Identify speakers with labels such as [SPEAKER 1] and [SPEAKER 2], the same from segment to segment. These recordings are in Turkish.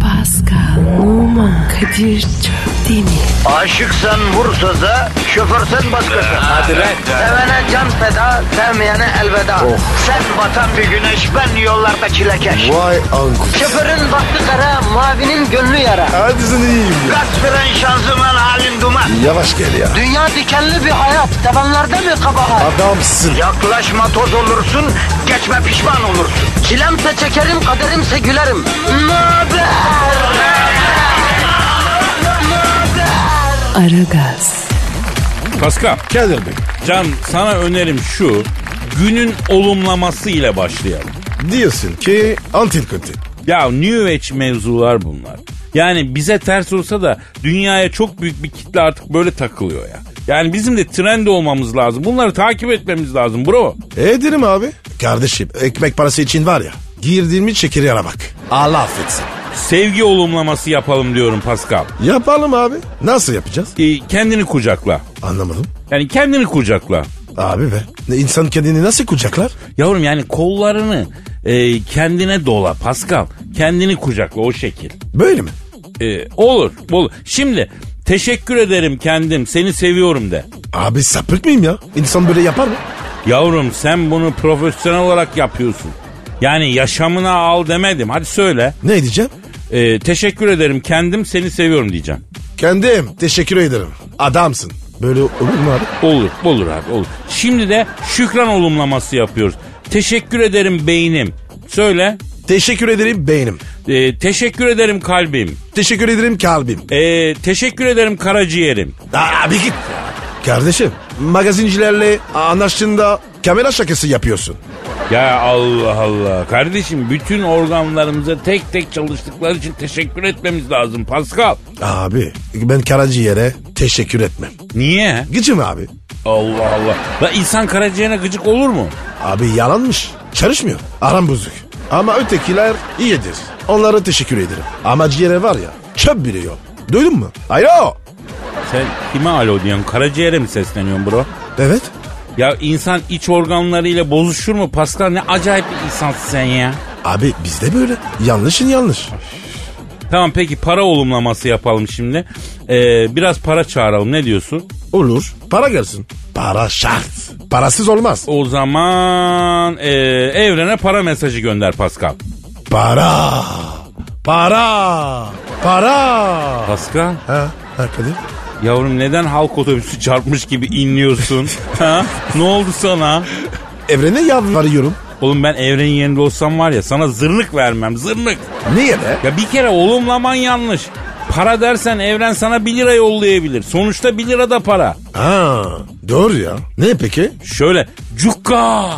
[SPEAKER 1] Pascal, Numan, Kadir çok değil mi?
[SPEAKER 2] Aşıksan vursa da şoförsen başkasın.
[SPEAKER 3] Hadi lan. Oh.
[SPEAKER 2] Sevene can feda, sevmeyene elveda. Sen batan bir güneş, ben yollarda çilekeş.
[SPEAKER 3] Vay anku.
[SPEAKER 2] Şoförün baktı kara, mavinin gönlü yara.
[SPEAKER 3] Hadi sen iyiyim ya.
[SPEAKER 2] Kasperen şanzıman halin duman.
[SPEAKER 3] Yavaş gel ya.
[SPEAKER 2] Dünya dikenli bir hayat, sevenlerde mi kabahar?
[SPEAKER 3] Adamsın.
[SPEAKER 2] Yaklaşma toz olursun, geçme pişman olursun. Çilemse çekerim, kaderimse gülerim. Möber!
[SPEAKER 1] Aragaz,
[SPEAKER 4] Pascal,
[SPEAKER 3] Kadir Bey.
[SPEAKER 4] can sana önerim şu. Günün olumlaması ile başlayalım.
[SPEAKER 3] Diyorsun ki antilkontin.
[SPEAKER 4] Ya New Age mevzular bunlar. Yani bize ters olsa da dünyaya çok büyük bir kitle artık böyle takılıyor ya. Yani bizim de trend olmamız lazım. Bunları takip etmemiz lazım bro.
[SPEAKER 3] Ederim E, abi. Kardeşim ekmek parası için var ya. Girdiğimi çekir yara bak. Allah affetsin.
[SPEAKER 4] Sevgi olumlaması yapalım diyorum Pascal.
[SPEAKER 3] Yapalım abi. Nasıl yapacağız?
[SPEAKER 4] Ee, kendini kucakla.
[SPEAKER 3] Anlamadım.
[SPEAKER 4] Yani kendini kucakla.
[SPEAKER 3] Abi be. ne insan kendini nasıl kucaklar?
[SPEAKER 4] Yavrum yani kollarını e, kendine dola Pascal. Kendini kucakla o şekil.
[SPEAKER 3] Böyle mi?
[SPEAKER 4] E, olur, olur. Şimdi teşekkür ederim kendim seni seviyorum de.
[SPEAKER 3] Abi sapık mıyım ya? İnsan böyle yapar mı?
[SPEAKER 4] Yavrum sen bunu profesyonel olarak yapıyorsun. Yani yaşamına al demedim. Hadi söyle.
[SPEAKER 3] Ne diyeceğim?
[SPEAKER 4] E, teşekkür ederim kendim seni seviyorum diyeceğim.
[SPEAKER 3] Kendim teşekkür ederim. Adamsın. Böyle olur mu abi?
[SPEAKER 4] Olur, olur abi olur. Şimdi de şükran olumlaması yapıyoruz. Teşekkür ederim beynim. Söyle.
[SPEAKER 3] Teşekkür ederim beynim.
[SPEAKER 4] E, teşekkür ederim kalbim.
[SPEAKER 3] Teşekkür ederim kalbim.
[SPEAKER 4] E, teşekkür ederim karaciğerim.
[SPEAKER 3] Abi git. Kardeşim magazincilerle anlaştığında kamera şakası yapıyorsun.
[SPEAKER 4] Ya Allah Allah. Kardeşim bütün organlarımıza tek tek çalıştıkları için teşekkür etmemiz lazım Pascal.
[SPEAKER 3] Abi ben karaciğere teşekkür etmem.
[SPEAKER 4] Niye?
[SPEAKER 3] Gıcım abi.
[SPEAKER 4] Allah Allah. La insan karaciğerine gıcık olur mu?
[SPEAKER 3] Abi yalanmış. Çalışmıyor. Aram bozuk. Ama ötekiler iyidir. Onlara teşekkür ederim. Ama ciğere var ya çöp bile yok. Duydun mu? Alo.
[SPEAKER 4] Sen kime alo diyorsun? Karaciğere mi sesleniyorsun bro?
[SPEAKER 3] Evet.
[SPEAKER 4] Ya insan iç organlarıyla bozuşur mu Pascal? Ne acayip bir insansın sen ya.
[SPEAKER 3] Abi bizde böyle. Yanlışın yanlış.
[SPEAKER 4] Tamam peki para olumlaması yapalım şimdi. Ee, biraz para çağıralım ne diyorsun?
[SPEAKER 3] Olur. Para gelsin. Para şart. Parasız olmaz.
[SPEAKER 4] O zaman ee, evrene para mesajı gönder Pascal.
[SPEAKER 3] Para. Para. Para.
[SPEAKER 4] Pascal
[SPEAKER 3] Ha, ha Kadir.
[SPEAKER 4] yavrum neden halk otobüsü çarpmış gibi inliyorsun? ha? Ne oldu sana?
[SPEAKER 3] Evrene yalvarıyorum.
[SPEAKER 4] Oğlum ben evrenin yerinde olsam var ya sana zırnık vermem zırnık.
[SPEAKER 3] Niye be?
[SPEAKER 4] Ya bir kere olumlaman yanlış. Para dersen evren sana 1 lira yollayabilir. Sonuçta 1 lira da para.
[SPEAKER 3] Ha, doğru ya. Ne peki?
[SPEAKER 4] Şöyle cukka,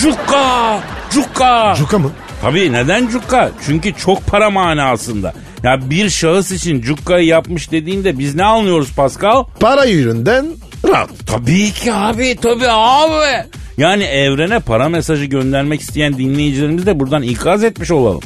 [SPEAKER 4] cukka, cukka.
[SPEAKER 3] Cuka mı?
[SPEAKER 4] Tabii neden cukka? Çünkü çok para manasında. Ya bir şahıs için cukkayı yapmış dediğinde biz ne anlıyoruz Pascal?
[SPEAKER 3] Para yüründen rahat.
[SPEAKER 4] Tabii ki abi, tabii abi. Yani evrene para mesajı göndermek isteyen dinleyicilerimizi de buradan ikaz etmiş olalım.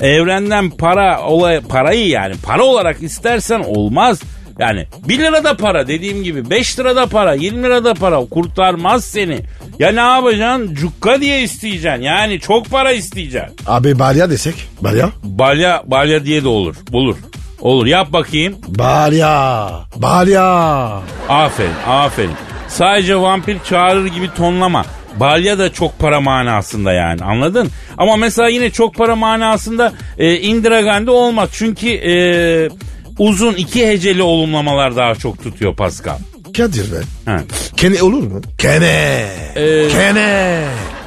[SPEAKER 4] Evrenden para olay, parayı yani para olarak istersen olmaz. Yani 1 lira da para dediğim gibi 5 lira da para 20 lira da para kurtarmaz seni. Ya ne yapacaksın? Cukka diye isteyeceksin. Yani çok para isteyeceksin.
[SPEAKER 3] Abi balya desek. Balya?
[SPEAKER 4] Balya, balya diye de olur. Olur. Olur yap bakayım.
[SPEAKER 3] Balya. Balya.
[SPEAKER 4] Aferin, aferin. Sadece vampir çağırır gibi tonlama. Balya da çok para manasında yani anladın? Ama mesela yine çok para manasında e, Indira Gandhi olmaz. Çünkü e, uzun iki heceli olumlamalar daha çok tutuyor Pascal.
[SPEAKER 3] Kadir be.
[SPEAKER 4] Ha.
[SPEAKER 3] Kene olur mu? Kene.
[SPEAKER 4] Ee,
[SPEAKER 3] Kene.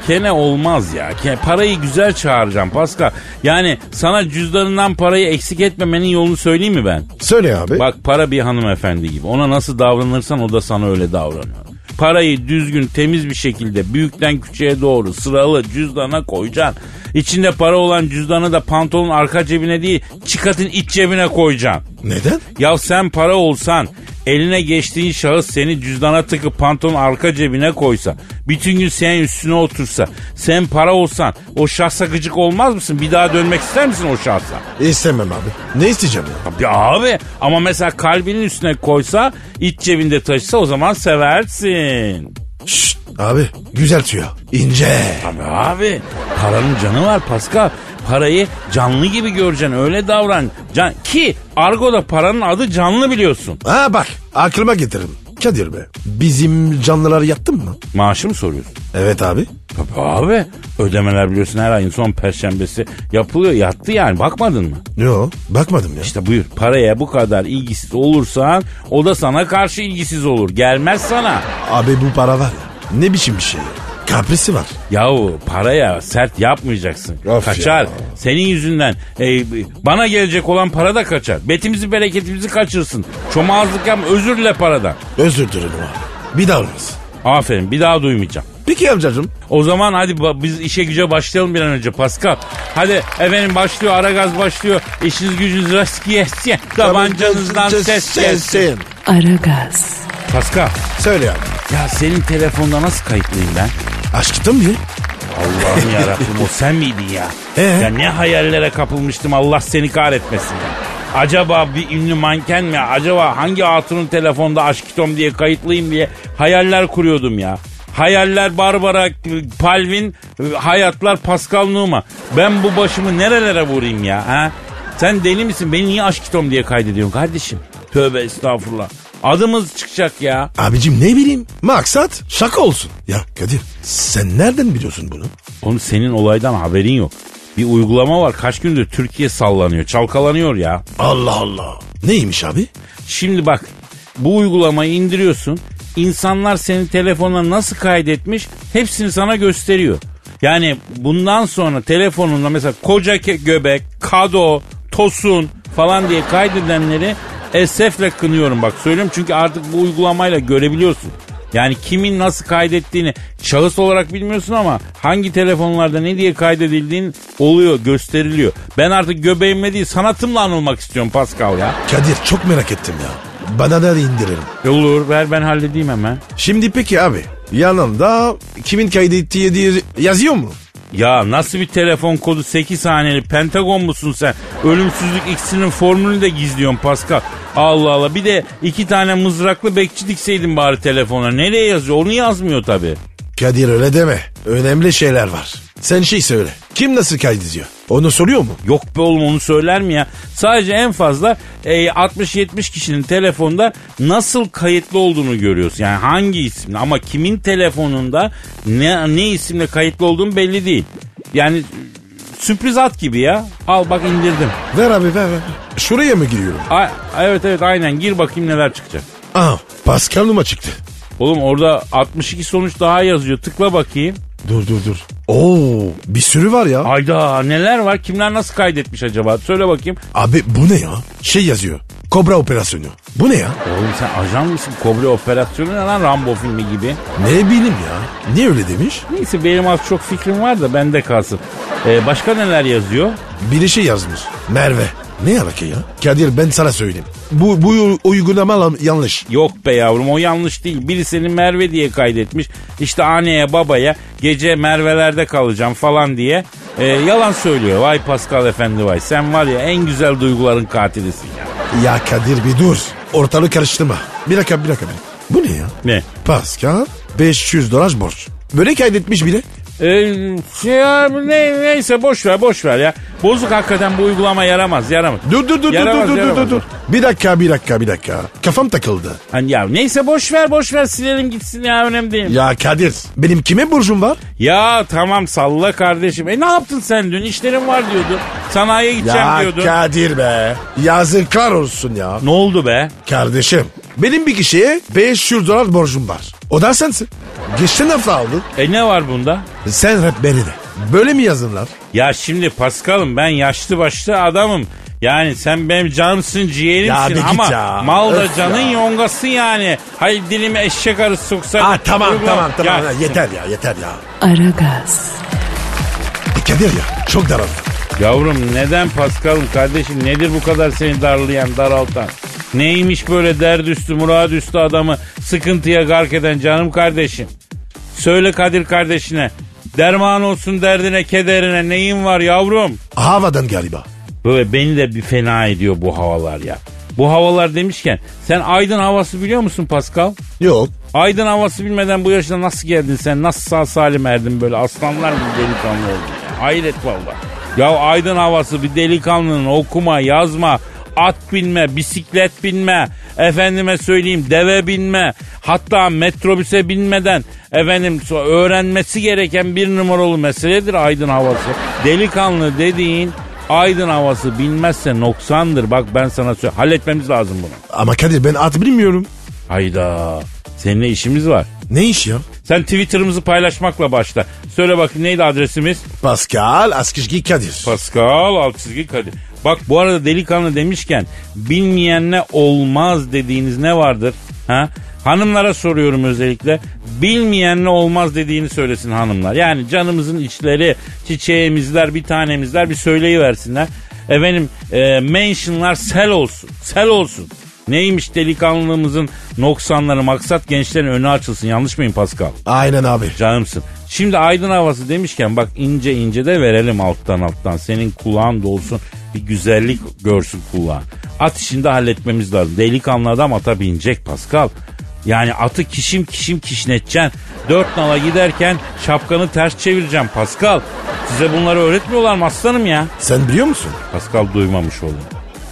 [SPEAKER 4] Kene olmaz ya. Ke- parayı güzel çağıracağım Pascal. Yani sana cüzdanından parayı eksik etmemenin yolunu söyleyeyim mi ben?
[SPEAKER 3] Söyle abi.
[SPEAKER 4] Bak para bir hanımefendi gibi. Ona nasıl davranırsan o da sana öyle davranıyor. Parayı düzgün temiz bir şekilde büyükten küçüğe doğru sıralı cüzdana koyacaksın. İçinde para olan cüzdanı da pantolonun arka cebine değil çıkatın iç cebine koyacaksın.
[SPEAKER 3] Neden?
[SPEAKER 4] Ya sen para olsan eline geçtiğin şahıs seni cüzdana tıkıp pantolonun arka cebine koysa. Bütün gün senin üstüne otursa. Sen para olsan o şahsa gıcık olmaz mısın? Bir daha dönmek ister misin o şahsa?
[SPEAKER 3] İstemem abi. Ne isteyeceğim ya?
[SPEAKER 4] Tabii abi ama mesela kalbinin üstüne koysa iç cebinde taşısa o zaman seversin.
[SPEAKER 3] Şşt, abi güzel tüyo. İnce.
[SPEAKER 4] Tabii abi paranın canı var Pascal. Parayı canlı gibi göreceksin öyle davran. Can, ki argoda paranın adı canlı biliyorsun.
[SPEAKER 3] Ha bak aklıma getiririm. Kadir be bizim canlılar yattın mı?
[SPEAKER 4] Maaşı mı soruyorsun?
[SPEAKER 3] Evet abi.
[SPEAKER 4] Tabii abi ödemeler biliyorsun her ayın son perşembesi yapılıyor yattı yani bakmadın mı?
[SPEAKER 3] Yo bakmadım ya.
[SPEAKER 4] İşte buyur paraya bu kadar ilgisiz olursan o da sana karşı ilgisiz olur gelmez sana.
[SPEAKER 3] Abi bu para var ya ne biçim bir şey ya. Kaprisi var.
[SPEAKER 4] Yahu paraya sert yapmayacaksın.
[SPEAKER 3] Of
[SPEAKER 4] kaçar.
[SPEAKER 3] ya.
[SPEAKER 4] Senin yüzünden e, bana gelecek olan para da kaçar. Betimizi bereketimizi kaçırsın. Çomağızlık yapma özür dile paradan.
[SPEAKER 3] Özür dilerim abi. Bir daha olmaz.
[SPEAKER 4] Aferin bir daha duymayacağım.
[SPEAKER 3] Peki amcacığım.
[SPEAKER 4] O zaman hadi ba- biz işe güce başlayalım bir an önce Pascal. Hadi efendim başlıyor ara gaz başlıyor. İşiniz gücünüz rast gelsin. Tabancanızdan ses gelsin.
[SPEAKER 1] Aragaz,
[SPEAKER 4] Pascal
[SPEAKER 3] Söyle abi.
[SPEAKER 4] ya senin telefonda nasıl kayıtlıyım ben?
[SPEAKER 3] Aşkım diye.
[SPEAKER 4] Allah'ım yarabbim o sen miydin ya?
[SPEAKER 3] Ee?
[SPEAKER 4] Ya ne hayallere kapılmıştım Allah seni kahretmesin ya. Acaba bir ünlü manken mi? Acaba hangi hatunun telefonda aşkitom diye kayıtlıyım diye hayaller kuruyordum ya. Hayaller Barbara Palvin, hayatlar Pascal Numa. Ben bu başımı nerelere vurayım ya? Ha? Sen deli misin? Beni niye aşkitom diye kaydediyorsun kardeşim? Tövbe estağfurullah. Adımız çıkacak ya.
[SPEAKER 3] Abicim ne bileyim. Maksat şaka olsun. Ya Kadir sen nereden biliyorsun bunu?
[SPEAKER 4] Oğlum senin olaydan haberin yok. Bir uygulama var kaç gündür Türkiye sallanıyor, çalkalanıyor ya.
[SPEAKER 3] Allah Allah. Neymiş abi?
[SPEAKER 4] Şimdi bak bu uygulamayı indiriyorsun. İnsanlar senin telefonuna nasıl kaydetmiş hepsini sana gösteriyor. Yani bundan sonra telefonunda mesela koca ke- göbek, kado, tosun falan diye kaydedenleri esefle kınıyorum bak söylüyorum. Çünkü artık bu uygulamayla görebiliyorsun. Yani kimin nasıl kaydettiğini şahıs olarak bilmiyorsun ama hangi telefonlarda ne diye kaydedildiğin oluyor, gösteriliyor. Ben artık göbeğimle değil sanatımla anılmak istiyorum Pascal ya.
[SPEAKER 3] Kadir çok merak ettim ya. Bana da indiririm.
[SPEAKER 4] Olur ver ben halledeyim hemen.
[SPEAKER 3] Şimdi peki abi yanında kimin kaydettiği diye yazıyor mu?
[SPEAKER 4] Ya nasıl bir telefon kodu 8 haneli Pentagon musun sen? Ölümsüzlük X'inin formülünü de gizliyorsun Pascal. Allah Allah bir de iki tane mızraklı bekçi dikseydin bari telefona. Nereye yazıyor onu yazmıyor tabii.
[SPEAKER 3] Kadir öyle deme. Önemli şeyler var. Sen şey söyle. Kim nasıl kaydediyor? Onu soruyor mu?
[SPEAKER 4] Yok be oğlum onu söyler mi ya? Sadece en fazla e, 60-70 kişinin telefonda nasıl kayıtlı olduğunu görüyorsun. Yani hangi isimle ama kimin telefonunda ne, ne isimle kayıtlı olduğun belli değil. Yani e, sürpriz at gibi ya. Al bak indirdim.
[SPEAKER 3] Ver abi ver ver. Şuraya mı giriyorum?
[SPEAKER 4] A- evet evet aynen gir bakayım neler çıkacak.
[SPEAKER 3] Aa Pascal numa çıktı.
[SPEAKER 4] Oğlum orada 62 sonuç daha yazıyor. Tıkla bakayım.
[SPEAKER 3] Dur dur dur. Oo bir sürü var ya.
[SPEAKER 4] Ayda neler var? Kimler nasıl kaydetmiş acaba? Söyle bakayım.
[SPEAKER 3] Abi bu ne ya? Şey yazıyor. Kobra operasyonu. Bu ne ya?
[SPEAKER 4] Oğlum sen ajan mısın? Kobra operasyonu ne lan Rambo filmi gibi?
[SPEAKER 3] Ne bileyim ya. Niye öyle demiş?
[SPEAKER 4] Neyse benim az çok fikrim var da bende kalsın. Ee, başka neler yazıyor?
[SPEAKER 3] Biri şey yazmış. Merve. Ne alaka ya? Kadir ben sana söyleyeyim. Bu, bu uygulama lan- yanlış.
[SPEAKER 4] Yok be yavrum o yanlış değil. Biri seni Merve diye kaydetmiş. İşte anneye babaya gece Merve'lerde kalacağım falan diye. Ee, yalan söylüyor. Vay Pascal efendi vay. Sen var ya en güzel duyguların katilisin ya.
[SPEAKER 3] Ya Kadir bir dur. Ortalığı karıştırma. Bir dakika bir dakika. Bu ne ya?
[SPEAKER 4] Ne?
[SPEAKER 3] Pascal 500 dolar borç. Böyle kaydetmiş bile.
[SPEAKER 4] Ee, şey ya, ne, neyse boş ver boş ver ya. Bozuk hakikaten bu uygulama yaramaz yaramaz.
[SPEAKER 3] Dur dur dur
[SPEAKER 4] Yaramaz,
[SPEAKER 3] dur dur dur dur
[SPEAKER 4] yaramaz.
[SPEAKER 3] dur. Bir dakika bir dakika bir dakika. Kafam takıldı.
[SPEAKER 4] Hani ya neyse boş ver boş ver silelim gitsin ya önemli değil.
[SPEAKER 3] Ya Kadir benim kime borcum var?
[SPEAKER 4] Ya tamam salla kardeşim. E ne yaptın sen dün? İşlerim var diyordun. Sanayiye gideceğim
[SPEAKER 3] Ya
[SPEAKER 4] diyordun.
[SPEAKER 3] Kadir be. Yazıklar olsun ya.
[SPEAKER 4] ne oldu be?
[SPEAKER 3] Kardeşim benim bir kişiye 500 dolar borcum var. O da sensin. Geçen hafta aldın.
[SPEAKER 4] E ne var bunda?
[SPEAKER 3] Sen rap beni de. Böyle mi yazınlar?
[SPEAKER 4] Ya şimdi Paskal'ım ben yaşlı başlı adamım. Yani sen benim canımsın
[SPEAKER 3] Ya bir
[SPEAKER 4] ciğerimsin
[SPEAKER 3] git
[SPEAKER 4] ama
[SPEAKER 3] ya.
[SPEAKER 4] mal da
[SPEAKER 3] Öf
[SPEAKER 4] canın
[SPEAKER 3] ya.
[SPEAKER 4] yongası yani. Hayır dilime eşek arısı soksa.
[SPEAKER 3] Aa, tamam
[SPEAKER 4] Ulan-
[SPEAKER 3] tamam tamam.
[SPEAKER 4] Ya-
[SPEAKER 3] Ya, yeter ya yeter ya.
[SPEAKER 1] Aragaz,
[SPEAKER 3] E, Kadir ya çok daraldım.
[SPEAKER 4] Yavrum neden Paskal'ım kardeşim nedir bu kadar seni darlayan daraltan? Neymiş böyle derd üstü murad üstü adamı sıkıntıya gark eden canım kardeşim? Söyle Kadir kardeşine derman olsun derdine kederine neyin var yavrum?
[SPEAKER 3] Havadan galiba.
[SPEAKER 4] Böyle beni de bir fena ediyor bu havalar ya. Bu havalar demişken sen Aydın havası biliyor musun Paskal?
[SPEAKER 3] Yok.
[SPEAKER 4] Aydın havası bilmeden bu yaşına nasıl geldin sen? Nasıl sağ salim erdin böyle aslanlar gibi delikanlı oldun? ya? Hayret valla. Ya aydın havası bir delikanlının okuma, yazma, at binme, bisiklet binme, efendime söyleyeyim deve binme, hatta metrobüse binmeden efendim so- öğrenmesi gereken bir numaralı meseledir aydın havası. Delikanlı dediğin aydın havası bilmezse noksandır. Bak ben sana söylüyorum. Halletmemiz lazım bunu.
[SPEAKER 3] Ama Kadir ben at bilmiyorum.
[SPEAKER 4] Hayda. Seninle işimiz var.
[SPEAKER 3] Ne iş ya?
[SPEAKER 4] Sen Twitter'ımızı paylaşmakla başla. Söyle bakayım neydi adresimiz?
[SPEAKER 3] Pascal Askışgi Kadir.
[SPEAKER 4] Pascal alt çizgi Kadir. Bak bu arada delikanlı demişken bilmeyenle olmaz dediğiniz ne vardır? Ha? Hanımlara soruyorum özellikle. Bilmeyenle olmaz dediğini söylesin hanımlar. Yani canımızın içleri, çiçeğimizler, bir tanemizler bir söyleyiversinler. Efendim e, mentionlar sel olsun. Sel olsun. Neymiş delikanlılığımızın noksanları maksat gençlerin önü açılsın. Yanlış mıyım Pascal?
[SPEAKER 3] Aynen abi.
[SPEAKER 4] Canımsın. Şimdi aydın havası demişken bak ince ince de verelim alttan alttan. Senin kulağın da olsun bir güzellik görsün kulağın. At işini de halletmemiz lazım. Delikanlı adam ata binecek Pascal. Yani atı kişim kişim kişneteceksin. Dört nala giderken şapkanı ters çevireceğim Pascal. Size bunları öğretmiyorlar mı aslanım ya?
[SPEAKER 3] Sen biliyor musun?
[SPEAKER 4] Pascal duymamış olayım.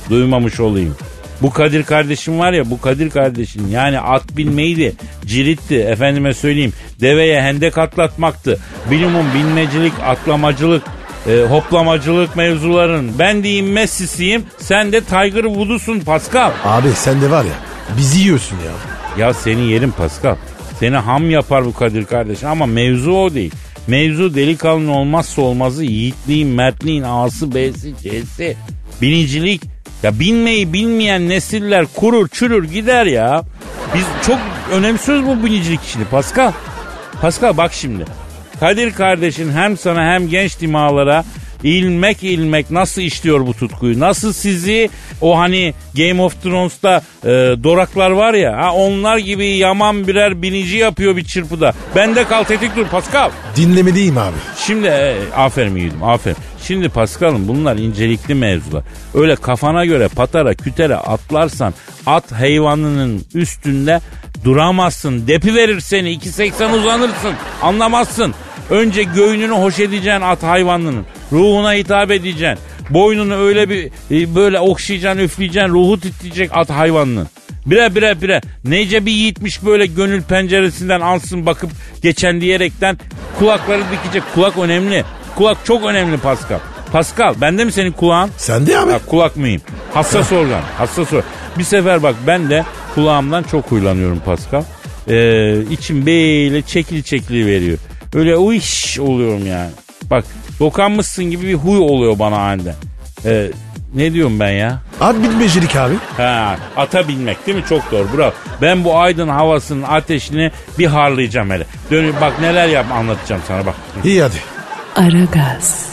[SPEAKER 4] Duymamış olayım. Bu Kadir kardeşim var ya bu Kadir kardeşim yani at binmeydi, ciritti efendime söyleyeyim. Deveye hendek atlatmaktı. Bilimum binmecilik, atlamacılık, e, hoplamacılık mevzuların. Ben diyeyim Messi'siyim sen de Tiger Woods'un Pascal.
[SPEAKER 3] Abi sen de var ya bizi yiyorsun ya.
[SPEAKER 4] Ya seni yerim Pascal. Seni ham yapar bu Kadir kardeş ama mevzu o değil. Mevzu delikanlı olmazsa olmazı yiğitliğin, mertliğin, A'sı, B'si, C'si, binicilik. Ya binmeyi bilmeyen nesiller kurur, çürür gider ya. Biz çok önemsiyoruz bu binicilik işini Pascal. Pascal bak şimdi. Kadir kardeşin hem sana hem genç dimalara ilmek ilmek nasıl işliyor bu tutkuyu? Nasıl sizi o hani Game of Thrones'ta e, doraklar var ya ha, onlar gibi yaman birer binici yapıyor bir çırpıda. Bende kal tetik dur Pascal.
[SPEAKER 3] Dinlemedeyim abi.
[SPEAKER 4] Şimdi e, aferin yiğidim aferin. Şimdi Pascal'ım bunlar incelikli mevzular. Öyle kafana göre patara kütere atlarsan at hayvanının üstünde duramazsın. Depi verir seni 2.80 uzanırsın anlamazsın. Önce göğününü hoş edeceksin at hayvanının. Ruhuna hitap edeceksin. Boynunu öyle bir e, böyle okşayacaksın üfleyeceksin. Ruhu titreyecek at hayvanının. Bire bire bire. Nece bir yiğitmiş böyle gönül penceresinden ansın bakıp geçen diyerekten kulakları dikecek. Kulak önemli. Kulak çok önemli Pascal. Pascal bende mi senin kulağın?
[SPEAKER 3] Sen de abi.
[SPEAKER 4] Ha, kulak mıyım? Hassas organ. Hassas organ. Bir sefer bak ben de kulağımdan çok huylanıyorum Pascal. Ee, içim böyle çekil çekili veriyor. Öyle uyş oluyorum yani. Bak dokanmışsın gibi bir huy oluyor bana aniden. Ee, ne diyorum ben ya?
[SPEAKER 3] At bitmecilik abi.
[SPEAKER 4] Ha, ata binmek değil mi? Çok doğru. Bravo. Ben bu aydın havasının ateşini bir harlayacağım hele. Dönüp bak neler yap anlatacağım sana bak.
[SPEAKER 3] İyi hadi.
[SPEAKER 1] Aragaz.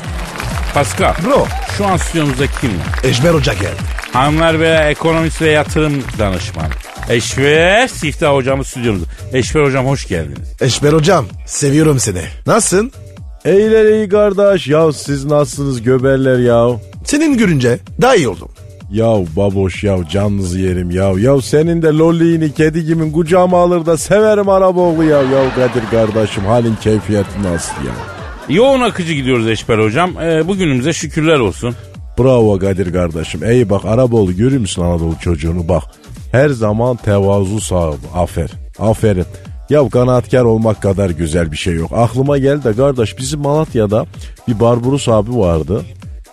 [SPEAKER 4] Pascal.
[SPEAKER 3] Bro.
[SPEAKER 4] Şu an stüdyomuzda kim var?
[SPEAKER 3] Ejmer Hoca geldi.
[SPEAKER 4] Hanımlar ve ekonomist ve yatırım danışmanı. Eşver Siftah hocamız stüdyomuzda. Eşver hocam hoş geldiniz.
[SPEAKER 3] Ejmer Hocam seviyorum seni. Nasılsın?
[SPEAKER 5] Eylereyi kardeş ya siz nasılsınız göberler ya.
[SPEAKER 3] Senin görünce daha iyi oldum.
[SPEAKER 5] Ya baboş ya canınızı yerim ya. Ya senin de lolliğini kedi gibi kucağıma alır da severim araba oğlu ya. Ya Kadir kardeşim halin keyfiyeti nasıl ya.
[SPEAKER 4] Yoğun akıcı gidiyoruz Eşber hocam. Ee, bugünümüze şükürler olsun.
[SPEAKER 5] Bravo Kadir kardeşim. Ey bak Araboğlu görüyor musun Anadolu çocuğunu bak. Her zaman tevazu sahibi. Aferin. Aferin. Ya kanaatkar olmak kadar güzel bir şey yok. Aklıma geldi de kardeş bizim Malatya'da bir Barbaros abi vardı.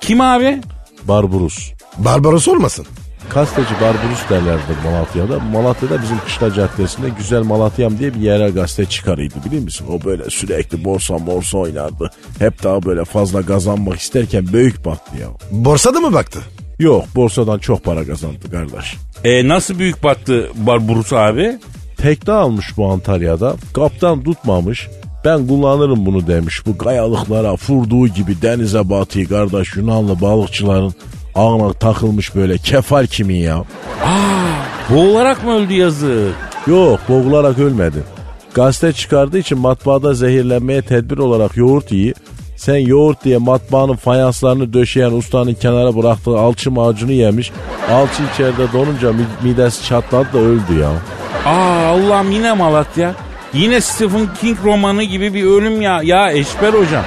[SPEAKER 4] Kim abi?
[SPEAKER 5] Barbaros.
[SPEAKER 3] Barbaros olmasın.
[SPEAKER 5] Kasteci Barbaros derlerdi Malatya'da. Malatya'da bizim Kışla Caddesi'nde Güzel Malatya'm diye bir yerel gazete çıkarıydı biliyor musun? O böyle sürekli borsa borsa oynardı. Hep daha böyle fazla kazanmak isterken büyük battı ya.
[SPEAKER 3] Borsada mı baktı?
[SPEAKER 5] Yok borsadan çok para kazandı kardeş.
[SPEAKER 4] Ee, nasıl büyük battı Barbarus abi?
[SPEAKER 5] Tekne almış bu Antalya'da. Kaptan tutmamış. Ben kullanırım bunu demiş. Bu kayalıklara furduğu gibi denize batıyı kardeş Yunanlı balıkçıların ağına takılmış böyle kefal kimi ya.
[SPEAKER 4] Boğularak mı öldü yazık?
[SPEAKER 5] Yok boğularak ölmedi. Gazete çıkardığı için matbaada zehirlenmeye tedbir olarak yoğurt yiyi. Sen yoğurt diye matbaanın fayanslarını döşeyen ustanın kenara bıraktığı alçım ağacını yemiş. Alçı içeride donunca mi- midesi çatladı da öldü ya.
[SPEAKER 4] Aa Allah'ım yine Malatya. Yine Stephen King romanı gibi bir ölüm ya. Ya Eşber hocam.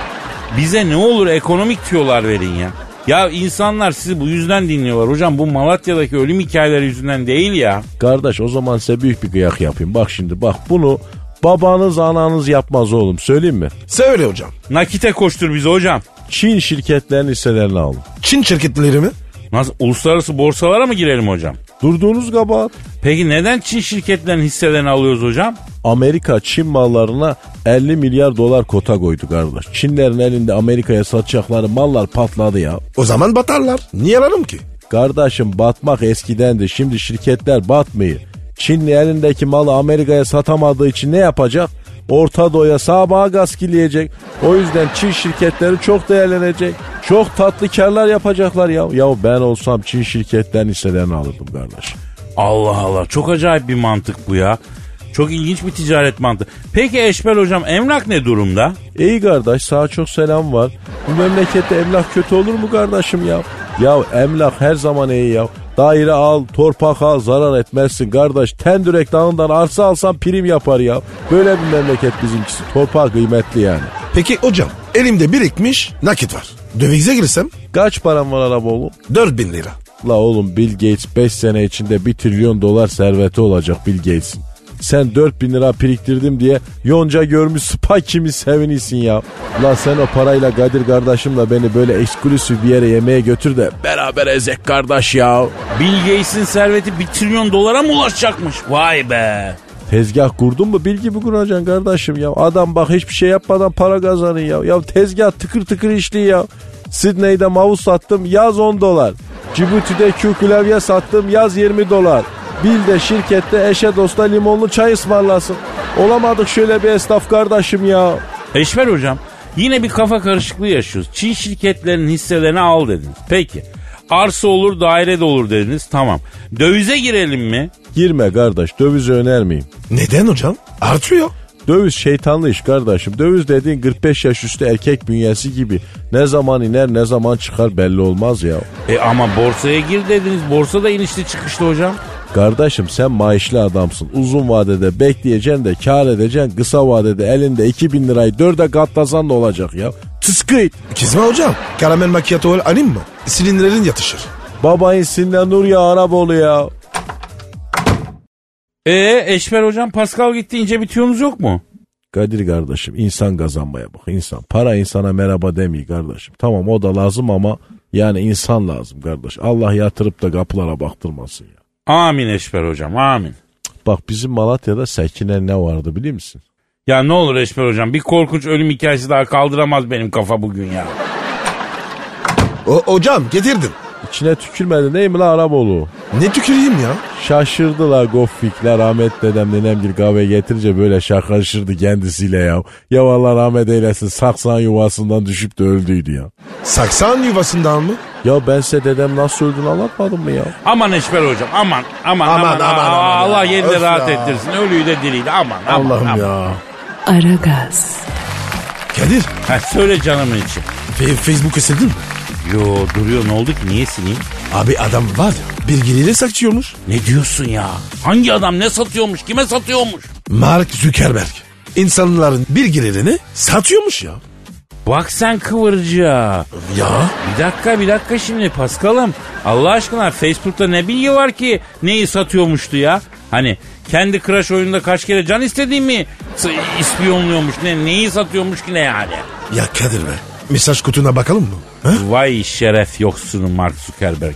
[SPEAKER 4] Bize ne olur ekonomik tüyolar verin ya. Ya insanlar sizi bu yüzden dinliyorlar. Hocam bu Malatya'daki ölüm hikayeleri yüzünden değil ya.
[SPEAKER 5] Kardeş o zaman size büyük bir kıyak yapayım. Bak şimdi bak bunu babanız ananız yapmaz oğlum söyleyeyim mi?
[SPEAKER 3] Söyle hocam.
[SPEAKER 4] Nakite koştur bizi hocam.
[SPEAKER 5] Çin şirketlerinin hisselerini alın.
[SPEAKER 3] Çin şirketleri mi?
[SPEAKER 4] Nasıl uluslararası borsalara mı girelim hocam?
[SPEAKER 5] Durduğunuz kabahat.
[SPEAKER 4] Peki neden Çin şirketlerinin hisselerini alıyoruz hocam?
[SPEAKER 5] Amerika Çin mallarına 50 milyar dolar kota koydu kardeş. Çinlerin elinde Amerika'ya satacakları mallar patladı ya.
[SPEAKER 3] O zaman batarlar. Niye yararım ki?
[SPEAKER 5] Kardeşim batmak eskidendi. Şimdi şirketler batmıyor. Çin'in elindeki malı Amerika'ya satamadığı için ne yapacak? Orta Doğu'ya sabaha gaz kileyecek. O yüzden Çin şirketleri çok değerlenecek. Çok tatlı karlar yapacaklar ya. Ya ben olsam Çin şirketlerin hisselerini alırdım kardeş.
[SPEAKER 4] Allah Allah çok acayip bir mantık bu ya. Çok ilginç bir ticaret mantığı. Peki Eşber hocam emlak ne durumda?
[SPEAKER 5] İyi kardeş sana çok selam var. Bu memlekette emlak kötü olur mu kardeşim ya? Ya emlak her zaman iyi ya. Daire al, torpak al, zarar etmezsin kardeş. Tendürek dağından arsa alsan prim yapar ya. Böyle bir memleket bizimkisi. Torpak kıymetli yani.
[SPEAKER 3] Peki hocam elimde birikmiş nakit var. Dövize girsem
[SPEAKER 5] Kaç param var araba oğlum?
[SPEAKER 3] 4000 lira.
[SPEAKER 5] La oğlum Bill Gates 5 sene içinde 1 trilyon dolar serveti olacak Bill Gates'in. Sen 4000 lira biriktirdim diye yonca görmüş spa kimi sevinisin ya. La sen o parayla Kadir kardeşimle beni böyle eksklusif bir yere yemeğe götür de beraber ezek kardeş ya.
[SPEAKER 4] Bill Gates'in serveti 1 trilyon dolara mı ulaşacakmış? Vay be.
[SPEAKER 5] Tezgah kurdun mu bilgi mi kuracaksın kardeşim ya? Adam bak hiçbir şey yapmadan para kazanıyor ya. Ya tezgah tıkır tıkır işliyor ya. Sydney'de mavus sattım yaz 10 dolar. Cibuti'de Q klavye sattım yaz 20 dolar. Bil de şirkette eşe dosta limonlu çay ısmarlasın. Olamadık şöyle bir esnaf kardeşim ya.
[SPEAKER 4] Eşber hocam yine bir kafa karışıklığı yaşıyoruz. Çin şirketlerinin hisselerini al dediniz. Peki arsa olur daire de olur dediniz tamam. Dövize girelim mi?
[SPEAKER 5] Girme kardeş dövizi önermeyeyim.
[SPEAKER 3] Neden hocam? Artıyor.
[SPEAKER 5] Döviz şeytanlı iş kardeşim. Döviz dediğin 45 yaş üstü erkek bünyesi gibi. Ne zaman iner ne zaman çıkar belli olmaz ya.
[SPEAKER 4] E ama borsaya gir dediniz. Borsa da inişli çıkışlı hocam.
[SPEAKER 5] Kardeşim sen maaşlı adamsın. Uzun vadede bekleyeceksin de kar edeceksin. Kısa vadede elinde 2000 lirayı dörde katlasan da olacak ya. Tıskıt.
[SPEAKER 3] Kızma hocam. Karamel macchiato alayım mı? Silindirerin yatışır.
[SPEAKER 5] Baba insinle nur ya Araboğlu ya.
[SPEAKER 4] E Eşber hocam Pascal gitti ince bir tüyomuz yok mu?
[SPEAKER 5] Kadir kardeşim insan kazanmaya bak insan. Para insana merhaba demiyor kardeşim. Tamam o da lazım ama yani insan lazım kardeş. Allah yatırıp da kapılara baktırmasın ya.
[SPEAKER 4] Amin Eşber hocam amin.
[SPEAKER 5] Bak bizim Malatya'da Sekine ne vardı biliyor musun?
[SPEAKER 4] Ya ne olur Eşber hocam bir korkunç ölüm hikayesi daha kaldıramaz benim kafa bugün ya.
[SPEAKER 3] O, hocam getirdim.
[SPEAKER 5] İçine tükürmedi değil mi lan Araboğlu?
[SPEAKER 3] Ne tüküreyim ya?
[SPEAKER 5] Şaşırdılar goffikler Ahmet dedem nenemgil kahve getirince böyle şakalaşırdı kendisiyle ya. Ya Allah rahmet eylesin saksan yuvasından düşüp de öldüydü ya.
[SPEAKER 3] Saksan yuvasından mı?
[SPEAKER 5] Ya ben size dedem nasıl öldüğünü anlatmadım mı ya?
[SPEAKER 4] Aman Eşber hocam aman aman aman,
[SPEAKER 3] Aman, aman,
[SPEAKER 4] Aa,
[SPEAKER 3] aman
[SPEAKER 4] Allah
[SPEAKER 3] ya.
[SPEAKER 4] yerinde
[SPEAKER 3] Öf
[SPEAKER 4] rahat
[SPEAKER 3] ya.
[SPEAKER 4] ettirsin ölüyü de diriyi de aman aman. aman.
[SPEAKER 3] Allah'ım ya.
[SPEAKER 1] Aragaz,
[SPEAKER 3] Kadir
[SPEAKER 4] Ha, söyle canımın için.
[SPEAKER 3] fe- Facebook'u sildin mi?
[SPEAKER 4] Yo duruyor ne oldu ki niye sileyim?
[SPEAKER 3] Abi adam var ya bilgileri sakçıyormuş.
[SPEAKER 4] Ne diyorsun ya? Hangi adam ne satıyormuş kime satıyormuş?
[SPEAKER 3] Mark Zuckerberg. İnsanların bilgilerini satıyormuş ya.
[SPEAKER 4] Bak sen kıvırcığa.
[SPEAKER 3] Ya
[SPEAKER 4] Bir dakika bir dakika şimdi Paskal'ım. Allah aşkına Facebook'ta ne bilgi var ki neyi satıyormuştu ya? Hani kendi Crash oyununda kaç kere can istediğimi s- ispiyonluyormuş ne neyi satıyormuş ki ne yani?
[SPEAKER 3] ya Kadir be. Mesaj kutuna bakalım mı? Ha?
[SPEAKER 4] Vay şeref yoksunu Mark Zuckerberg.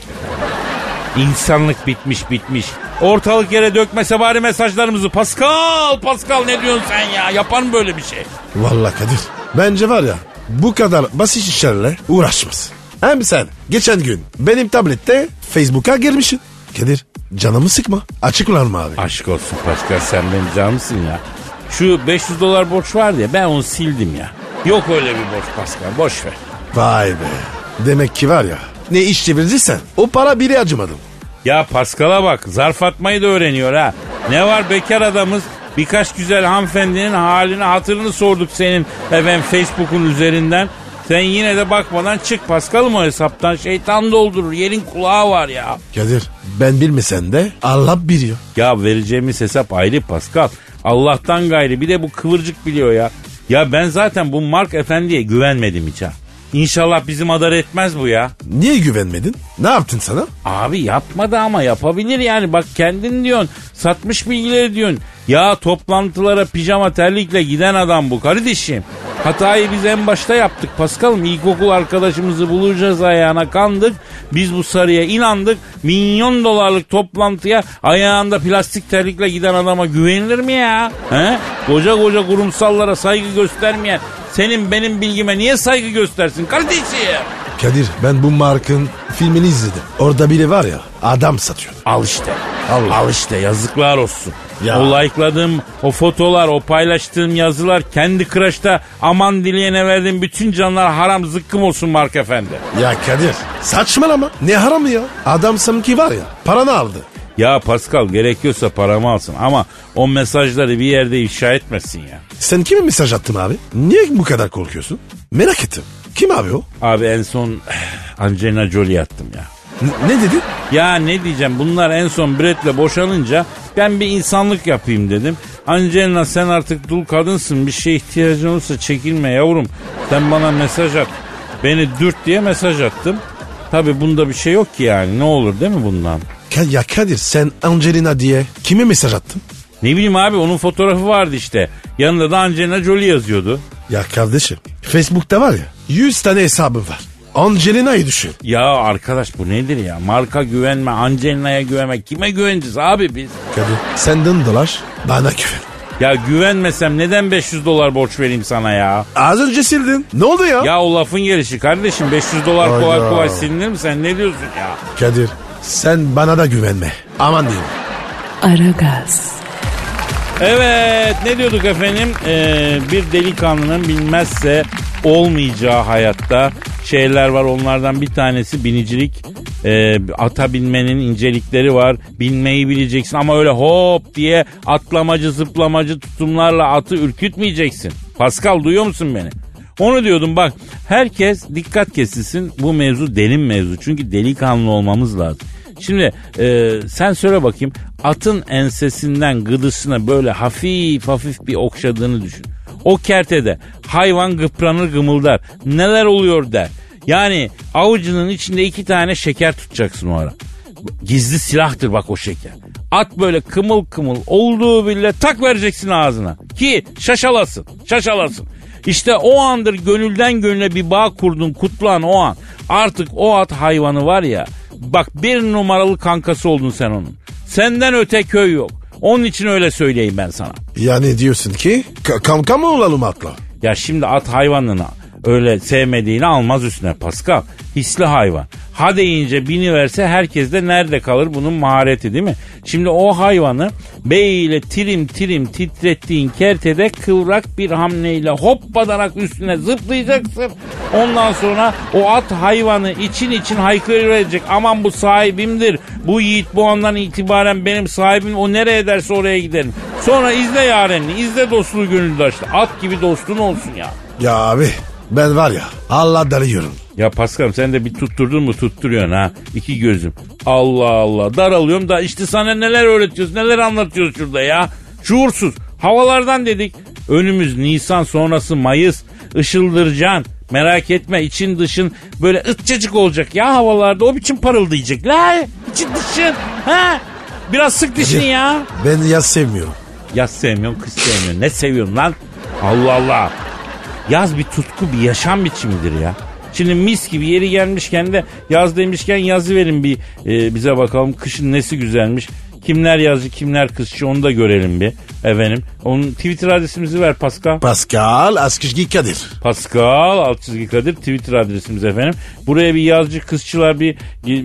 [SPEAKER 4] İnsanlık bitmiş bitmiş. Ortalık yere dökmese bari mesajlarımızı. Pascal, Pascal ne diyorsun sen ya? Yapar mı böyle bir şey?
[SPEAKER 3] Vallahi Kadir. Bence var ya bu kadar basit işlerle uğraşmaz. Hem sen geçen gün benim tablette Facebook'a girmişsin. Kadir canımı sıkma. Açık ulan mı abi?
[SPEAKER 4] Aşk olsun Pascal sen benim canımsın ya. Şu 500 dolar borç var ya ben onu sildim ya. Yok öyle bir borç Pascal boş ver.
[SPEAKER 3] Vay be. Demek ki var ya ne iş çevirdiysen o para biri acımadım.
[SPEAKER 4] Ya Pascal'a bak zarf atmayı da öğreniyor ha. Ne var bekar adamız birkaç güzel hanımefendinin halini hatırını sorduk senin efendim Facebook'un üzerinden. Sen yine de bakmadan çık Pascal'ım o hesaptan şeytan doldurur yerin kulağı var ya.
[SPEAKER 3] Kadir ben bilmesen de Allah biliyor.
[SPEAKER 4] Ya vereceğimiz hesap ayrı Pascal. Allah'tan gayri bir de bu kıvırcık biliyor ya. Ya ben zaten bu Mark Efendi'ye güvenmedim hiç ha. İnşallah bizim adar etmez bu ya.
[SPEAKER 3] Niye güvenmedin? Ne yaptın sana?
[SPEAKER 4] Abi yapmadı ama yapabilir yani. Bak kendin diyorsun. Satmış bilgileri diyorsun. Ya toplantılara pijama terlikle giden adam bu kardeşim. Hatayı biz en başta yaptık Paskal'ım. İlkokul arkadaşımızı bulacağız ayağına kandık. Biz bu sarıya inandık. Milyon dolarlık toplantıya ayağında plastik terlikle giden adama güvenilir mi ya? He? Koca koca kurumsallara saygı göstermeyen senin benim bilgime niye saygı göstersin kardeşim?
[SPEAKER 3] Kadir ben bu markın filmini izledim. Orada biri var ya adam satıyor.
[SPEAKER 4] Al işte.
[SPEAKER 3] Allah.
[SPEAKER 4] Al işte yazıklar olsun.
[SPEAKER 3] Ya.
[SPEAKER 4] O like'ladığım o fotolar, o paylaştığım yazılar kendi kıraçta aman dileyene verdiğim bütün canlar haram zıkkım olsun Mark Efendi.
[SPEAKER 3] Ya Kadir saçmalama ne haramı ya? Adam sanki var ya paranı aldı.
[SPEAKER 4] Ya Pascal gerekiyorsa paramı alsın ama o mesajları bir yerde ifşa etmesin ya.
[SPEAKER 3] Sen kime mesaj attın abi? Niye bu kadar korkuyorsun? Merak ettim. Kim abi o?
[SPEAKER 4] Abi en son Angelina Jolie attım ya.
[SPEAKER 3] N- ne dedi?
[SPEAKER 4] Ya ne diyeceğim bunlar en son Brett'le boşanınca ben bir insanlık yapayım dedim. Angelina sen artık dul kadınsın bir şeye ihtiyacın olursa çekinme yavrum. Sen bana mesaj at. Beni dürt diye mesaj attım. Tabi bunda bir şey yok ki yani ne olur değil mi bundan?
[SPEAKER 3] Ka- ya Kadir sen Angelina diye kime mesaj attın?
[SPEAKER 4] Ne bileyim abi onun fotoğrafı vardı işte. Yanında da Angelina Jolie yazıyordu.
[SPEAKER 3] Ya kardeşim Facebook'ta var ya 100 tane hesabım var. Angelina'yı düşün.
[SPEAKER 4] Ya arkadaş bu nedir ya? Marka güvenme, Angelina'ya güvenme. Kime güveneceğiz abi biz?
[SPEAKER 3] Kadir senden dolar bana güven.
[SPEAKER 4] Ya güvenmesem neden 500 dolar borç vereyim sana ya?
[SPEAKER 3] Az önce sildin. Ne oldu ya?
[SPEAKER 4] Ya o lafın gelişi kardeşim 500 dolar kolay
[SPEAKER 3] Hayda.
[SPEAKER 4] kolay silinir mi sen ne diyorsun ya?
[SPEAKER 3] Kadir sen bana da güvenme. Aman diyeyim.
[SPEAKER 1] Aragaz,
[SPEAKER 4] Evet ne diyorduk efendim Ee, bir delikanlının bilmezse olmayacağı hayatta şeyler var onlardan bir tanesi binicilik Ee, ata binmenin incelikleri var binmeyi bileceksin ama öyle hop diye atlamacı zıplamacı tutumlarla atı ürkütmeyeceksin. Pascal duyuyor musun beni? Onu diyordum bak herkes dikkat kesilsin bu mevzu derin mevzu çünkü delikanlı olmamız lazım. Şimdi e, sen söyle bakayım atın ensesinden gıdısına böyle hafif hafif bir okşadığını düşün. O kertede hayvan gıpranır gımıldar neler oluyor der. Yani avucunun içinde iki tane şeker tutacaksın o ara. Gizli silahtır bak o şeker. At böyle kımıl kımıl olduğu bile tak vereceksin ağzına. Ki şaşalasın, şaşalasın. İşte o andır gönülden gönüle bir bağ kurdun kutlan o an. Artık o at hayvanı var ya. Bak bir numaralı kankası oldun sen onun. Senden öte köy yok. Onun için öyle söyleyeyim ben sana.
[SPEAKER 3] Yani diyorsun ki ka- kanka mı olalım atla?
[SPEAKER 4] Ya şimdi at hayvanını öyle sevmediğini almaz üstüne Pascal. Hisli hayvan. Ha deyince bini verse herkes de nerede kalır bunun mahareti değil mi? Şimdi o hayvanı beyle tirim tirim titrettiğin kertede kıvrak bir hamleyle hoppadarak üstüne zıplayacaksın. Ondan sonra o at hayvanı için için haykıracak. Aman bu sahibimdir. Bu yiğit bu andan itibaren benim sahibim. O nereye derse oraya giderim. Sonra izle yarenini, izle dostluğu gönüldaşlı. At gibi dostun olsun ya.
[SPEAKER 3] Ya abi ben var ya Allah darıyorum.
[SPEAKER 4] Ya Paskal'ım sen de bir tutturdun mu tutturuyorsun ha. İki gözüm. Allah Allah daralıyorum da işte sana neler öğretiyoruz neler anlatıyoruz şurada ya. Şuursuz havalardan dedik. Önümüz Nisan sonrası Mayıs. Işıldıracaksın. Merak etme için dışın böyle ıtçacık olacak ya havalarda o biçim parıldayacak. La için dışın ha. Biraz sık dişini ya.
[SPEAKER 3] Ben yaz sevmiyorum.
[SPEAKER 4] Yaz sevmiyorsun, kış sevmiyorsun. Ne seviyorsun lan? Allah Allah. Yaz bir tutku, bir yaşam biçimidir ya. Şimdi mis gibi yeri gelmişken de yaz demişken yazı verin bir e, bize bakalım kışın nesi güzelmiş. Kimler yazcı, kimler kışçı onu da görelim bir efendim. Onun Twitter adresimizi ver Pascal.
[SPEAKER 3] Pascal Askışgi Kadir.
[SPEAKER 4] Pascal alt çizgi Kadir Twitter adresimiz efendim. Buraya bir yazıcı kızçılar bir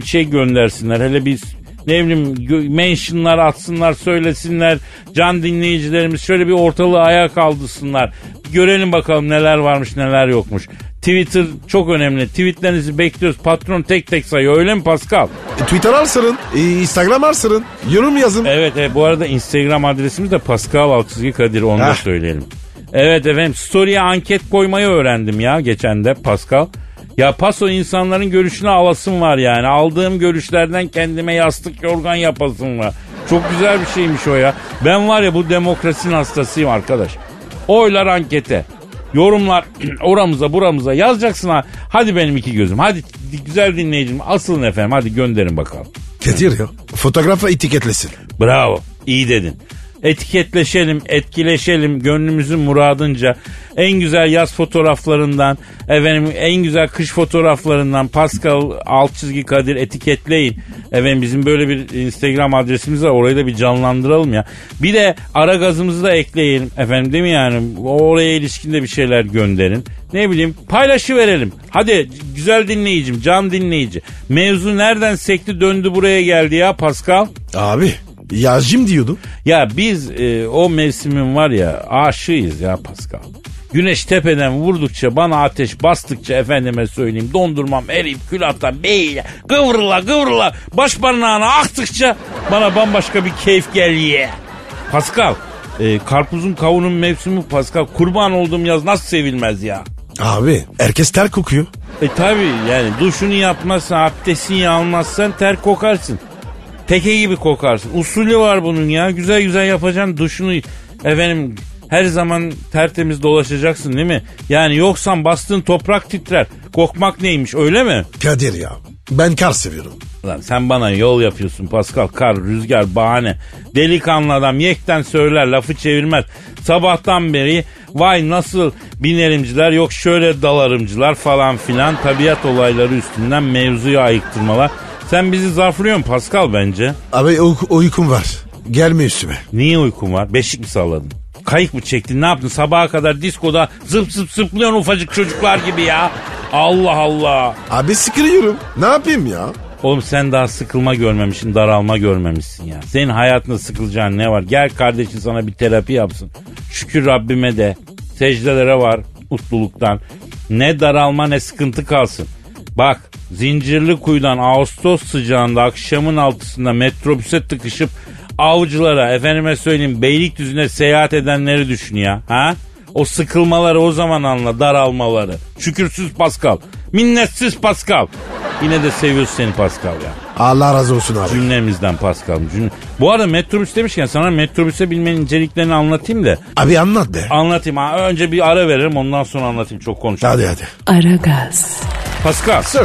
[SPEAKER 4] şey göndersinler. Hele bir ne bileyim gö- mentionlar atsınlar söylesinler. Can dinleyicilerimiz şöyle bir ortalığı ayağa kaldırsınlar. Görelim bakalım neler varmış neler yokmuş. Twitter çok önemli. Tweetlerinizi bekliyoruz. Patron tek tek sayıyor öyle mi Pascal?
[SPEAKER 3] E, Twitter arsırın, e, Instagram arsırın, yorum yazın.
[SPEAKER 4] Evet, evet bu arada Instagram adresimiz de Pascal Altçizgi Kadir onu da
[SPEAKER 3] Heh.
[SPEAKER 4] söyleyelim. Evet efendim story'e anket koymayı öğrendim ya geçen de Pascal. Ya paso insanların görüşünü alasım var yani. Aldığım görüşlerden kendime yastık yorgan yapasım var. Çok güzel bir şeymiş o ya. Ben var ya bu demokrasinin hastasıyım arkadaş. Oylar ankete. Yorumlar oramıza buramıza yazacaksın ha. Hadi benim iki gözüm. Hadi güzel dinleyicim asılın efendim. Hadi gönderin bakalım.
[SPEAKER 3] Kadir ya. Fotoğrafa etiketlesin.
[SPEAKER 4] Bravo. iyi dedin. Etiketleşelim, etkileşelim gönlümüzün muradınca. En güzel yaz fotoğraflarından, efendim en güzel kış fotoğraflarından Pascal alt çizgi Kadir etiketleyin. Efendim bizim böyle bir Instagram adresimiz var. Orayı da bir canlandıralım ya. Bir de ara gazımızı da ekleyelim. Efendim değil mi yani? Oraya ilişkin de bir şeyler gönderin. Ne bileyim paylaşı verelim. Hadi güzel dinleyicim, can dinleyici. Mevzu nereden sekti döndü buraya geldi ya Pascal?
[SPEAKER 3] Abi yağcım diyordu.
[SPEAKER 4] Ya biz e, o mevsimin var ya aşığıyız ya Pascal. Güneş tepeden vurdukça bana ateş bastıkça efendime söyleyeyim dondurmam eriyip külahtan beyle kıvrıla kıvrıla baş parmağına aktıkça bana bambaşka bir keyif geliyor. Pascal e, karpuzun kavunun mevsimi Pascal kurban olduğum yaz nasıl sevilmez ya.
[SPEAKER 3] Abi herkes ter kokuyor.
[SPEAKER 4] E tabi yani duşunu yapmazsan abdestini almazsan ter kokarsın. Teke gibi kokarsın. Usulü var bunun ya. Güzel güzel yapacaksın duşunu. Efendim her zaman tertemiz dolaşacaksın değil mi? Yani yoksan bastığın toprak titrer. Kokmak neymiş öyle mi?
[SPEAKER 3] Kadir ya ben kar seviyorum.
[SPEAKER 4] Lan sen bana yol yapıyorsun Pascal. Kar, rüzgar, bahane. Delikanlı adam yekten söyler lafı çevirmez. Sabahtan beri vay nasıl binerimciler yok şöyle dalarımcılar falan filan. Tabiat olayları üstünden mevzuya ayıktırmalar. Sen bizi zarflıyorsun Pascal bence.
[SPEAKER 3] Abi uyku- uykum var. Gelme üstüme.
[SPEAKER 4] Niye uykun var? Beşik mi salladın? Kayık mı çektin? Ne yaptın? Sabaha kadar diskoda zıp zıp zıplıyorsun ufacık çocuklar gibi ya. Allah Allah.
[SPEAKER 3] Abi sıkılıyorum. Ne yapayım ya?
[SPEAKER 4] Oğlum sen daha sıkılma görmemişsin, daralma görmemişsin ya. Senin hayatında sıkılacağın ne var? Gel kardeşin sana bir terapi yapsın. Şükür Rabbime de secdelere var mutluluktan. Ne daralma ne sıkıntı kalsın. Bak zincirli kuyudan Ağustos sıcağında akşamın altısında metrobüse tıkışıp avcılara efendime söyleyeyim Beylikdüzü'ne seyahat edenleri düşün ya. Ha? O sıkılmaları o zaman anla daralmaları. Şükürsüz Pascal. Minnetsiz Pascal. Yine de seviyoruz seni Pascal ya.
[SPEAKER 3] Allah razı olsun abi.
[SPEAKER 4] Cümlemizden Pascal. Cümle... Bu arada metrobüs demişken sana metrobüse bilmenin inceliklerini anlatayım da.
[SPEAKER 3] Abi anlat be.
[SPEAKER 4] Anlatayım ha. Önce bir ara veririm ondan sonra anlatayım. Çok konuştum.
[SPEAKER 3] Hadi hadi.
[SPEAKER 1] Aragaz,
[SPEAKER 4] Pascal.
[SPEAKER 3] Sir.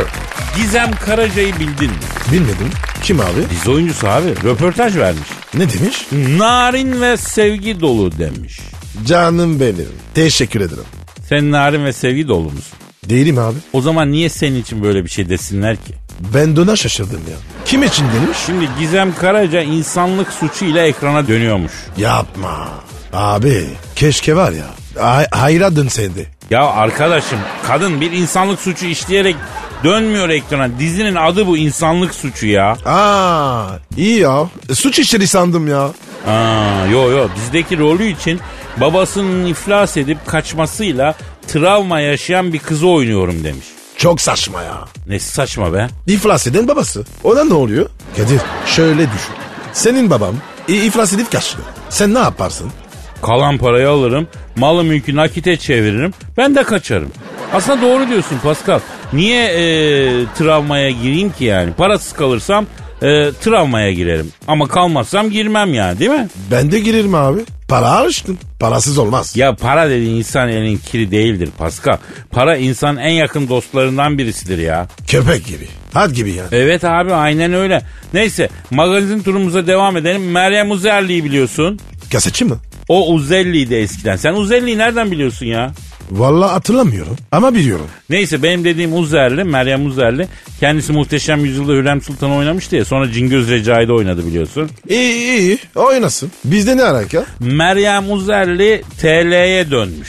[SPEAKER 4] Gizem Karaca'yı bildin mi?
[SPEAKER 3] Bilmedim. Kim abi?
[SPEAKER 4] Dizi oyuncusu abi. Röportaj vermiş.
[SPEAKER 3] Ne demiş?
[SPEAKER 4] Narin ve sevgi dolu demiş.
[SPEAKER 3] Canım benim. Teşekkür ederim.
[SPEAKER 4] Sen narin ve sevgi dolu musun?
[SPEAKER 3] Değilim abi.
[SPEAKER 4] O zaman niye senin için böyle bir şey desinler ki?
[SPEAKER 3] Ben de ona şaşırdım ya. Kim için demiş?
[SPEAKER 4] Şimdi Gizem Karaca insanlık suçu ile ekrana dönüyormuş.
[SPEAKER 3] Yapma. Abi keşke var ya. Hay hayra dönseydi.
[SPEAKER 4] Ya arkadaşım kadın bir insanlık suçu işleyerek dönmüyor ekrana. Dizinin adı bu insanlık suçu ya.
[SPEAKER 3] Aa iyi ya. E, Suç işleri sandım ya.
[SPEAKER 4] Aa, yo yo bizdeki rolü için babasının iflas edip kaçmasıyla travma yaşayan bir kızı oynuyorum demiş.
[SPEAKER 3] Çok saçma ya.
[SPEAKER 4] Ne saçma be.
[SPEAKER 3] İflas eden babası. Ona ne oluyor? Kadir şöyle düşün. Senin babam i- iflas edip kaçtı. Sen ne yaparsın?
[SPEAKER 4] Kalan parayı alırım, malı mülkü nakite çeviririm, ben de kaçarım. Aslında doğru diyorsun Pascal. Niye e, travmaya gireyim ki yani? Parasız kalırsam e, travmaya girerim. Ama kalmazsam girmem yani değil mi?
[SPEAKER 3] Ben de girerim abi. Para alıştın. Parasız olmaz.
[SPEAKER 4] Ya para dediğin insan elin kiri değildir Pascal. Para insan en yakın dostlarından birisidir ya.
[SPEAKER 3] Köpek gibi. Had gibi yani.
[SPEAKER 4] Evet abi aynen öyle. Neyse magazin turumuza devam edelim. Meryem Uzerli'yi biliyorsun.
[SPEAKER 3] Kasetçi mi?
[SPEAKER 4] O Uzelli'ydi eskiden. Sen Uzelli'yi nereden biliyorsun ya?
[SPEAKER 3] Vallahi hatırlamıyorum ama biliyorum.
[SPEAKER 4] Neyse benim dediğim Uzerli, Meryem Uzerli. Kendisi Muhteşem Yüzyılda Hürrem Sultan oynamıştı ya. Sonra Cingöz Recai'de oynadı biliyorsun.
[SPEAKER 3] İyi iyi iyi. Oynasın. Bizde ne alaka?
[SPEAKER 4] Meryem Uzerli TL'ye dönmüş.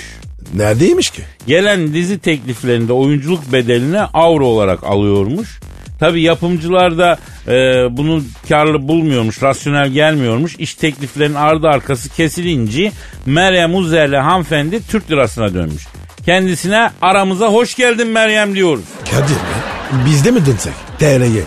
[SPEAKER 3] Neredeymiş ki?
[SPEAKER 4] Gelen dizi tekliflerinde oyunculuk bedelini avro olarak alıyormuş. Tabi yapımcılar da e, bunu karlı bulmuyormuş, rasyonel gelmiyormuş. İş tekliflerinin ardı arkası kesilince Meryem Uzerli hanımefendi Türk lirasına dönmüş. Kendisine aramıza hoş geldin Meryem diyoruz.
[SPEAKER 3] Kadir be. Bizde mi dönsek? TL'ye.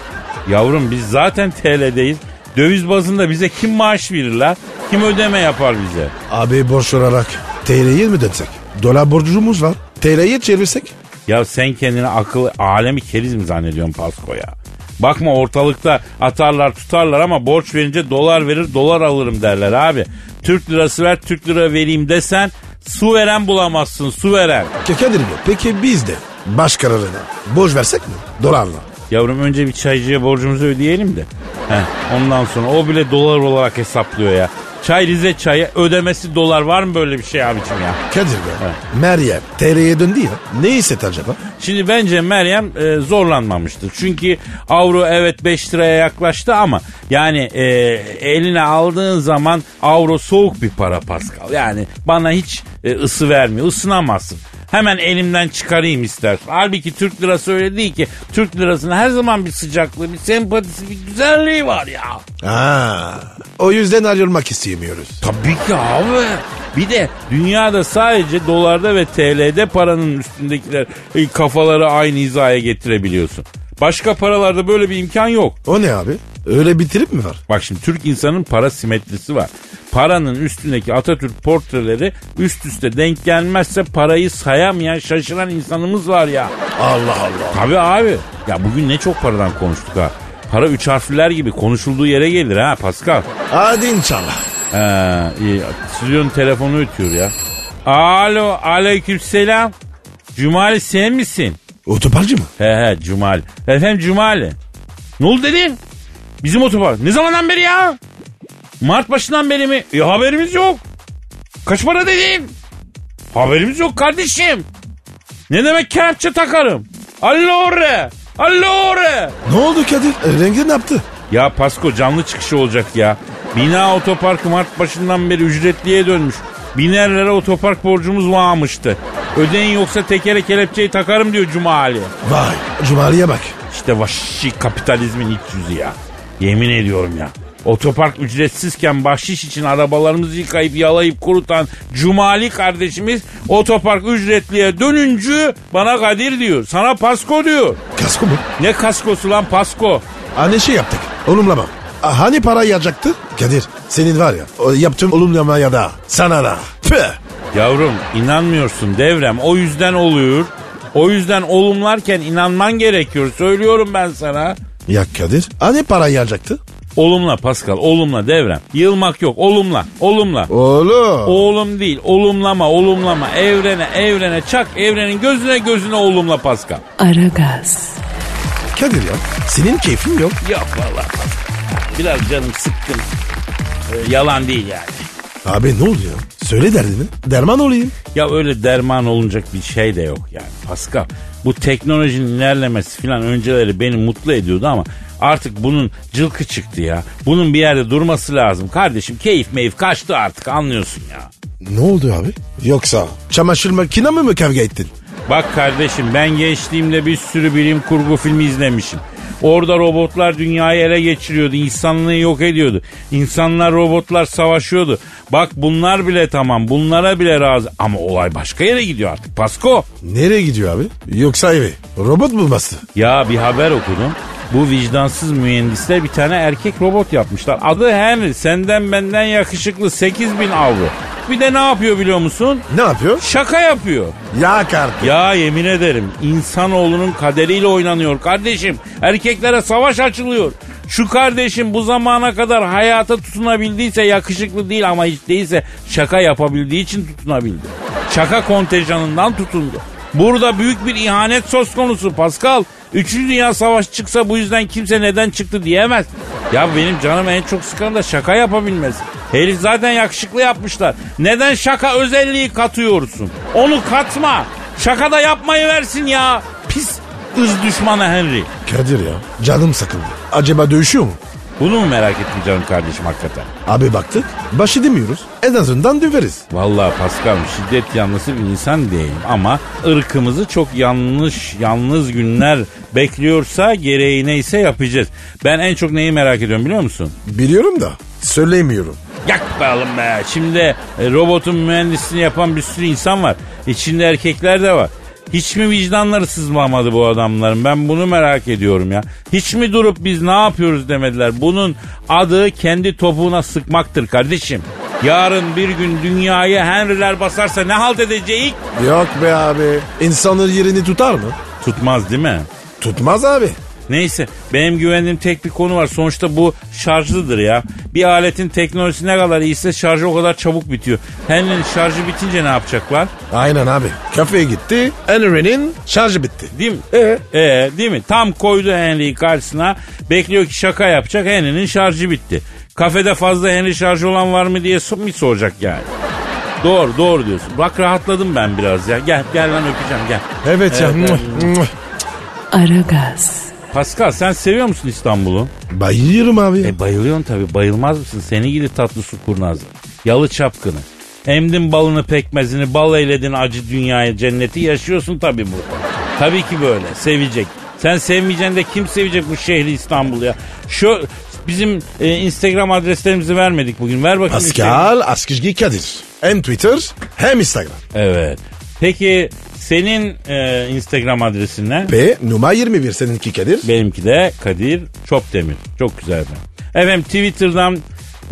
[SPEAKER 4] Yavrum biz zaten TL'deyiz. Döviz bazında bize kim maaş verir la? Kim ödeme yapar bize?
[SPEAKER 3] Abi borç olarak TL'ye mi dönsek? Dolar borcumuz var. TL'ye çevirsek?
[SPEAKER 4] Ya sen kendini akıl alemi keriz mi zannediyorsun Pasko ya? Bakma ortalıkta atarlar tutarlar ama borç verince dolar verir dolar alırım derler abi. Türk lirası ver Türk lira vereyim desen Su veren bulamazsın su veren.
[SPEAKER 3] Ke- Kadir Bey, peki biz de baş kararına borç versek mi? Dolarla.
[SPEAKER 4] Yavrum önce bir çaycıya borcumuzu ödeyelim de. Heh, ondan sonra o bile dolar olarak hesaplıyor ya. Çay Rize çayı ödemesi dolar var mı böyle bir şey abicim ya?
[SPEAKER 3] Kadir Bey, Meryem TL'ye döndü ya. Ne hissetti acaba?
[SPEAKER 4] Şimdi bence Meryem e, zorlanmamıştır. Çünkü avro evet 5 liraya yaklaştı ama yani e, eline aldığın zaman avro soğuk bir para Pascal. Yani bana hiç e, ısı vermiyor. Isınamazsın. Hemen elimden çıkarayım istersen. Halbuki Türk lirası öyle değil ki. Türk lirasının her zaman bir sıcaklığı, bir sempatisi, bir güzelliği var ya.
[SPEAKER 3] Ha, o yüzden ayrılmak istemiyoruz.
[SPEAKER 4] Tabii ki abi. Bir de dünyada sadece dolarda ve TL'de paranın üstündekiler e, kafaları aynı hizaya getirebiliyorsun. Başka paralarda böyle bir imkan yok.
[SPEAKER 3] O ne abi? Öyle bitirip mi var?
[SPEAKER 4] Bak şimdi Türk insanın para simetrisi var. Paranın üstündeki Atatürk portreleri üst üste denk gelmezse parayı sayamayan şaşıran insanımız var ya.
[SPEAKER 3] Allah Allah.
[SPEAKER 4] Tabii abi. Ya bugün ne çok paradan konuştuk ha. Para üç harfliler gibi konuşulduğu yere gelir ha Pascal.
[SPEAKER 3] Hadi inşallah.
[SPEAKER 4] Ha, iyi. Stüdyonun telefonu ötüyor ya. Alo, aleykümselam. Cumali sen misin?
[SPEAKER 3] Otoparcı mı?
[SPEAKER 4] He he, Cumali. Efendim Cumali. Ne oldu dedim? Bizim otopark. Ne zamandan beri ya? Mart başından beri mi? E, haberimiz yok. Kaç para dedim? Haberimiz yok kardeşim. Ne demek kelepçe takarım? Allore! Allore!
[SPEAKER 3] Ne oldu Kadir? Rengi ne yaptı?
[SPEAKER 4] Ya Pasko canlı çıkışı olacak ya. Bina otoparkı Mart başından beri ücretliye dönmüş. Biner lira otopark borcumuz varmıştı. Ödeyin yoksa tekere kelepçeyi takarım diyor Cuma Ali.
[SPEAKER 3] Vay, Cumali'ye bak.
[SPEAKER 4] İşte vahşi kapitalizmin iç yüzü ya. Yemin ediyorum ya. Otopark ücretsizken bahşiş için arabalarımızı yıkayıp yalayıp kurutan Cumali kardeşimiz otopark ücretliye dönünce bana Kadir diyor. Sana Pasko diyor.
[SPEAKER 3] Kasko mu?
[SPEAKER 4] Ne kaskosu lan Pasko?
[SPEAKER 3] Anne şey yaptık. Olumlama. Ah, Hani para yacaktı? Kadir, senin var ya, o yaptığım olumlama ya da sana da. Püh.
[SPEAKER 4] Yavrum inanmıyorsun devrem o yüzden oluyor. O yüzden olumlarken inanman gerekiyor söylüyorum ben sana.
[SPEAKER 3] Ya Kadir, hani para yacaktı?
[SPEAKER 4] Olumla Pascal olumla devrem. Yılmak yok olumla olumla.
[SPEAKER 3] Oğlum.
[SPEAKER 4] Oğlum değil olumlama olumlama evrene evrene çak evrenin gözüne gözüne olumla Pascal.
[SPEAKER 1] Aragaz,
[SPEAKER 3] Kadir ya, senin keyfin yok.
[SPEAKER 4] Yok valla biraz canım sıkkın. Ee, yalan değil yani.
[SPEAKER 3] Abi ne oluyor? Söyle derdini. Derman olayım.
[SPEAKER 4] Ya öyle derman olunacak bir şey de yok yani Pascal. Bu teknolojinin ilerlemesi falan önceleri beni mutlu ediyordu ama artık bunun cılkı çıktı ya. Bunun bir yerde durması lazım. Kardeşim keyif meyif kaçtı artık anlıyorsun ya.
[SPEAKER 3] Ne oldu abi? Yoksa çamaşır makine mi mi kavga ettin?
[SPEAKER 4] Bak kardeşim ben gençliğimde bir sürü bilim kurgu filmi izlemişim. Orada robotlar dünyayı ele geçiriyordu, insanlığı yok ediyordu. İnsanlar robotlar savaşıyordu. Bak bunlar bile tamam, bunlara bile razı. Ama olay başka yere gidiyor artık Pasko.
[SPEAKER 3] Nereye gidiyor abi? Yoksa evi. Robot mu bastı?
[SPEAKER 4] Ya bir haber okudum. Bu vicdansız mühendisler bir tane erkek robot yapmışlar. Adı Henry. Senden benden yakışıklı 8000 avro. Bir de ne yapıyor biliyor musun?
[SPEAKER 3] Ne yapıyor?
[SPEAKER 4] Şaka yapıyor.
[SPEAKER 3] Ya kartı.
[SPEAKER 4] Ya yemin ederim insanoğlunun kaderiyle oynanıyor kardeşim. Erkeklere savaş açılıyor. Şu kardeşim bu zamana kadar hayata tutunabildiyse yakışıklı değil ama hiç değilse şaka yapabildiği için tutunabildi. Şaka kontenjanından tutundu. Burada büyük bir ihanet söz konusu Pascal. Üçüncü Dünya Savaşı çıksa bu yüzden kimse neden çıktı diyemez. Ya benim canım en çok sıkan da şaka yapabilmez. Herif zaten yakışıklı yapmışlar. Neden şaka özelliği katıyorsun? Onu katma. Şaka da yapmayı versin ya. Pis ız düşmanı Henry.
[SPEAKER 3] Kadir ya. Canım sakındı. Acaba dövüşüyor mu?
[SPEAKER 4] Bunu mu merak ettin canım kardeşim hakikaten?
[SPEAKER 3] Abi baktık. Baş edemiyoruz. En azından döveriz.
[SPEAKER 4] Vallahi Pascal şiddet yanlısı bir insan değilim ama ırkımızı çok yanlış, yalnız günler bekliyorsa gereğine ise yapacağız. Ben en çok neyi merak ediyorum biliyor musun?
[SPEAKER 3] Biliyorum da söyleyemiyorum.
[SPEAKER 4] Yak be oğlum be. Şimdi e, robotun mühendisliğini yapan bir sürü insan var. İçinde erkekler de var. Hiç mi vicdanları sızmamadı bu adamların? Ben bunu merak ediyorum ya. Hiç mi durup biz ne yapıyoruz demediler? Bunun adı kendi topuğuna sıkmaktır kardeşim. Yarın bir gün dünyayı Henry'ler basarsa ne halt edeceğiz?
[SPEAKER 3] Yok be abi. İnsanın yerini tutar mı?
[SPEAKER 4] Tutmaz değil mi?
[SPEAKER 3] Tutmaz abi.
[SPEAKER 4] Neyse benim güvendiğim tek bir konu var. Sonuçta bu şarjlıdır ya. Bir aletin teknolojisi ne kadar iyiyse şarjı o kadar çabuk bitiyor. Henry'nin şarjı bitince ne yapacaklar?
[SPEAKER 3] Aynen abi. Kafeye gitti. Henry'nin şarjı bitti.
[SPEAKER 4] Değil mi? Ee? değil mi? Tam koydu Henry'i karşısına. Bekliyor ki şaka yapacak. Henry'nin şarjı bitti. Kafede fazla Henry şarjı olan var mı diye so- mi soracak yani? Doğru doğru diyorsun. Bak rahatladım ben biraz ya. Gel gel lan öpeceğim gel.
[SPEAKER 3] Evet ya.
[SPEAKER 1] Aragaz,
[SPEAKER 4] Pascal sen seviyor musun İstanbul'u?
[SPEAKER 3] Bayılıyorum abi. ya.
[SPEAKER 4] E bayılıyorsun tabii. Bayılmaz mısın? Seni gidi tatlı su kurnazı. Yalı çapkını. Emdin balını pekmezini, bal eyledin acı dünyayı, cenneti yaşıyorsun tabii burada. Tabii ki böyle, sevecek. Sen sevmeyeceksin de kim sevecek bu şehri İstanbul'u ya? Şu bizim e, Instagram adreslerimizi vermedik bugün. Ver bakayım.
[SPEAKER 3] Pascal Askizgi Kadir. Hem Twitter hem Instagram.
[SPEAKER 4] Evet. Peki senin e, Instagram adresin ne?
[SPEAKER 3] P numara 21 seninki Kadir.
[SPEAKER 4] Benimki de Kadir Çopdemir. Çok güzel efendim. Efendim Twitter'dan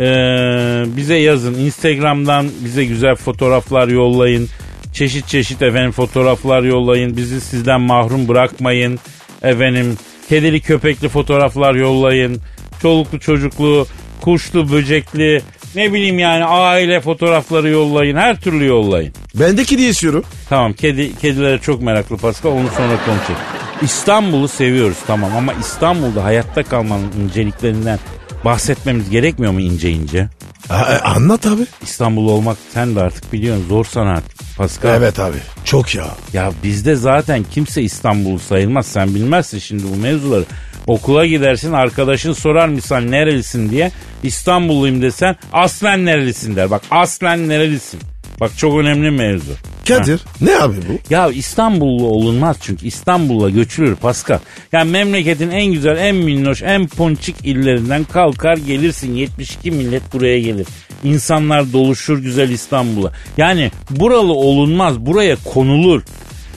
[SPEAKER 4] e, bize yazın. Instagram'dan bize güzel fotoğraflar yollayın. Çeşit çeşit efendim fotoğraflar yollayın. Bizi sizden mahrum bırakmayın. Efendim kedili köpekli fotoğraflar yollayın. Çoluklu çocuklu, kuşlu böcekli ne bileyim yani aile fotoğrafları yollayın. Her türlü yollayın.
[SPEAKER 3] Bendeki diye istiyorum.
[SPEAKER 4] Tamam kedi kedilere çok meraklı Pascal onu sonra konuşalım. İstanbul'u seviyoruz tamam ama İstanbul'da hayatta kalmanın inceliklerinden bahsetmemiz gerekmiyor mu ince ince?
[SPEAKER 3] A- e, anlat abi.
[SPEAKER 4] İstanbul olmak sen de artık biliyorsun zor sanat Pascal.
[SPEAKER 3] Evet abi. Çok ya.
[SPEAKER 4] Ya bizde zaten kimse İstanbul sayılmaz. Sen bilmezsin şimdi bu mevzuları. Okula gidersin arkadaşın sorar misal nerelisin diye. İstanbulluyum desen aslen nerelisin der. Bak aslen nerelisin. Bak çok önemli mevzu.
[SPEAKER 3] Kadir ne abi bu?
[SPEAKER 4] Ya İstanbullu olunmaz çünkü İstanbul'a göçülür Pascal. Yani memleketin en güzel, en minnoş, en ponçik illerinden kalkar gelirsin. 72 millet buraya gelir. İnsanlar doluşur güzel İstanbul'a. Yani buralı olunmaz, buraya konulur.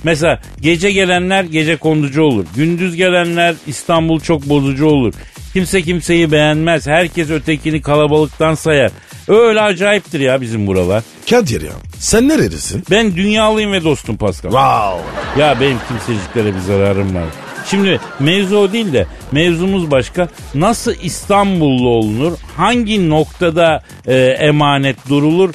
[SPEAKER 4] Mesela gece gelenler gece konducu olur. Gündüz gelenler İstanbul çok bozucu olur. Kimse kimseyi beğenmez. Herkes ötekini kalabalıktan sayar. Öyle acayiptir ya bizim buralar.
[SPEAKER 3] Kadir ya. Sen nerelisin?
[SPEAKER 4] Ben dünyalıyım ve dostum Pascal.
[SPEAKER 3] Wow.
[SPEAKER 4] Ya benim kimseciktere bir zararım var. Şimdi mevzu o değil de mevzumuz başka. Nasıl İstanbullu olunur? Hangi noktada e, emanet durulur?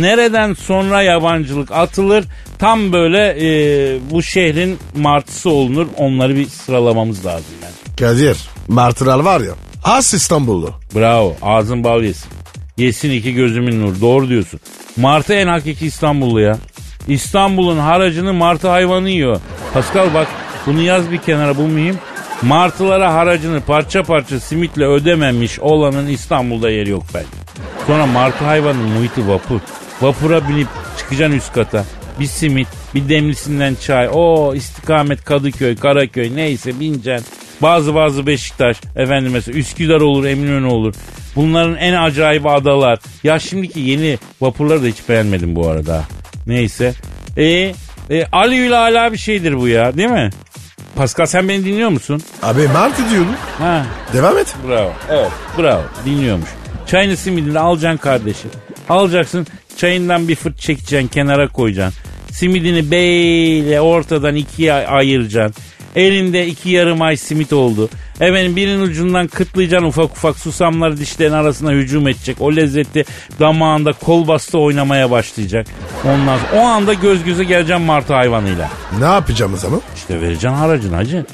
[SPEAKER 4] Nereden sonra yabancılık atılır? Tam böyle e, bu şehrin martısı olunur. Onları bir sıralamamız lazım yani.
[SPEAKER 3] Kadir. Martıral var ya. As İstanbullu.
[SPEAKER 4] Bravo. Ağzın bal yesin. Yesin iki gözümün nur. Doğru diyorsun. Martı en hakiki İstanbullu ya. İstanbul'un haracını martı hayvanı yiyor. Pascal bak bunu yaz bir kenara bu mühim. Martılara haracını parça parça simitle ödememiş olanın İstanbul'da yeri yok bence. Sonra martı hayvanının muhiti vapur. Vapura binip çıkacaksın üst kata. Bir simit, bir demlisinden çay. O istikamet Kadıköy, Karaköy neyse bineceksin. Bazı bazı Beşiktaş, efendim mesela Üsküdar olur, Eminönü olur. Bunların en acayip adalar. Ya şimdiki yeni vapurları da hiç beğenmedim bu arada. Neyse. E, e Ali Ül Ala bir şeydir bu ya değil mi? Pascal sen beni dinliyor musun?
[SPEAKER 3] Abi Martı diyorum.
[SPEAKER 4] Ha
[SPEAKER 3] Devam et.
[SPEAKER 4] Bravo. Evet. Bravo. Dinliyormuş. Çayını simidini alacaksın kardeşim. Alacaksın çayından bir fırt çekeceksin kenara koyacaksın. Simidini beyle ortadan ikiye ay- ayıracaksın. Elinde iki yarım ay simit oldu. Efendim birinin ucundan kıtlayacaksın ufak ufak susamları dişlerin arasına hücum edecek. O lezzeti damağında kol bastı oynamaya başlayacak. Ondan sonra- o anda göz göze geleceğim martı hayvanıyla.
[SPEAKER 3] Ne yapacağım o zaman?
[SPEAKER 4] İşte vereceksin haracını hacı.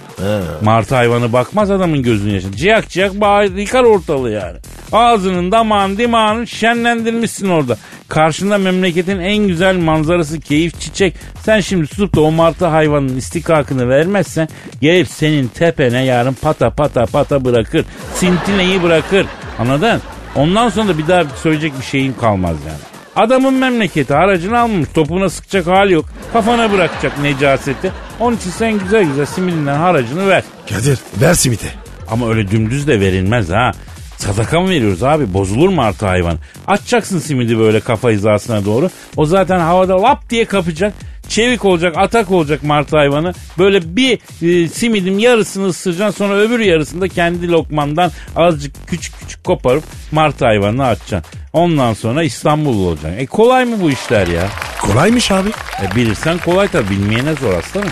[SPEAKER 4] Martı hayvanı bakmaz adamın gözünün yaşına. Ciyak ciyak bağır, yıkar ortalığı yani. Ağzının damağın dimağını şenlendirmişsin orada. Karşında memleketin en güzel manzarası keyif çiçek. Sen şimdi tutup da o martı hayvanın istikakını vermezsen gelip senin tepene yarın pata pata pata bırakır. Sintineyi bırakır. Anladın? Ondan sonra da bir daha söyleyecek bir şeyin kalmaz yani. Adamın memleketi aracını almış topuna sıkacak hali yok. Kafana bırakacak necaseti. Onun için sen güzel güzel simidinden haracını ver.
[SPEAKER 3] Kadir ver simite.
[SPEAKER 4] Ama öyle dümdüz de verilmez ha. Sadaka mı veriyoruz abi? Bozulur mu artı hayvan? Açacaksın simidi böyle kafa hizasına doğru. O zaten havada lap diye kapacak. Çevik olacak, atak olacak martı hayvanı. Böyle bir e, simidin yarısını ısıracaksın sonra öbür yarısını da kendi lokmandan azıcık küçük küçük koparıp martı hayvanını açacaksın. Ondan sonra İstanbullu olacaksın. E kolay mı bu işler ya?
[SPEAKER 3] Kolaymış abi.
[SPEAKER 4] E bilirsen kolay tabii bilmeyene zor aslanım.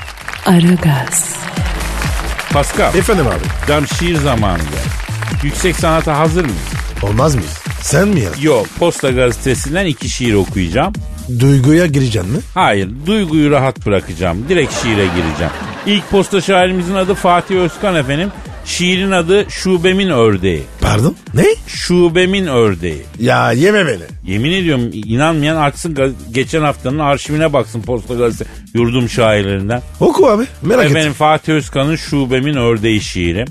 [SPEAKER 1] Aragaz.
[SPEAKER 4] Pascal,
[SPEAKER 3] Efendim abi.
[SPEAKER 4] tam şiir zamanı geldi. Yüksek sanata hazır mısın?
[SPEAKER 3] Olmaz mıyız? Sen mi ya?
[SPEAKER 4] Yok, Posta Gazetesi'nden iki şiir okuyacağım.
[SPEAKER 3] Duyguya gireceksin mi?
[SPEAKER 4] Hayır, duyguyu rahat bırakacağım. Direkt şiire gireceğim. İlk posta şairimizin adı Fatih Özkan efendim. Şiirin adı Şubemin Ördeği.
[SPEAKER 3] Pardon? Ne?
[SPEAKER 4] Şubemin Ördeği.
[SPEAKER 3] Ya yeme beni.
[SPEAKER 4] Yemin ediyorum inanmayan açsın gaz- geçen haftanın arşivine baksın Posta Gazetesi yurdum şairlerinden.
[SPEAKER 3] Oku abi merak etme.
[SPEAKER 4] Efendim Fatih Özkan'ın Şubemin Ördeği şiiri.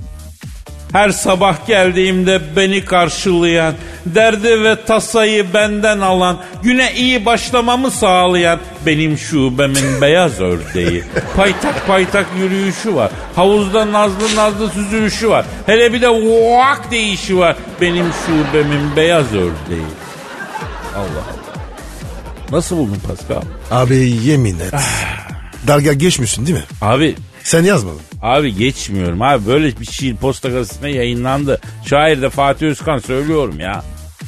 [SPEAKER 4] Her sabah geldiğimde beni karşılayan, derdi ve tasayı benden alan, güne iyi başlamamı sağlayan benim şubemin beyaz ördeği. Paytak paytak yürüyüşü var. Havuzda nazlı nazlı süzülüşü var. Hele bir de vak deyişi var. Benim şubemin beyaz ördeği. Allah Allah. Nasıl buldun Pascal?
[SPEAKER 3] Abi yemin et. Dalga geçmiyorsun değil mi?
[SPEAKER 4] Abi
[SPEAKER 3] Sen yazmadın.
[SPEAKER 4] Abi geçmiyorum abi böyle bir şiir posta gazetesinde yayınlandı. Şair de Fatih Özkan söylüyorum ya.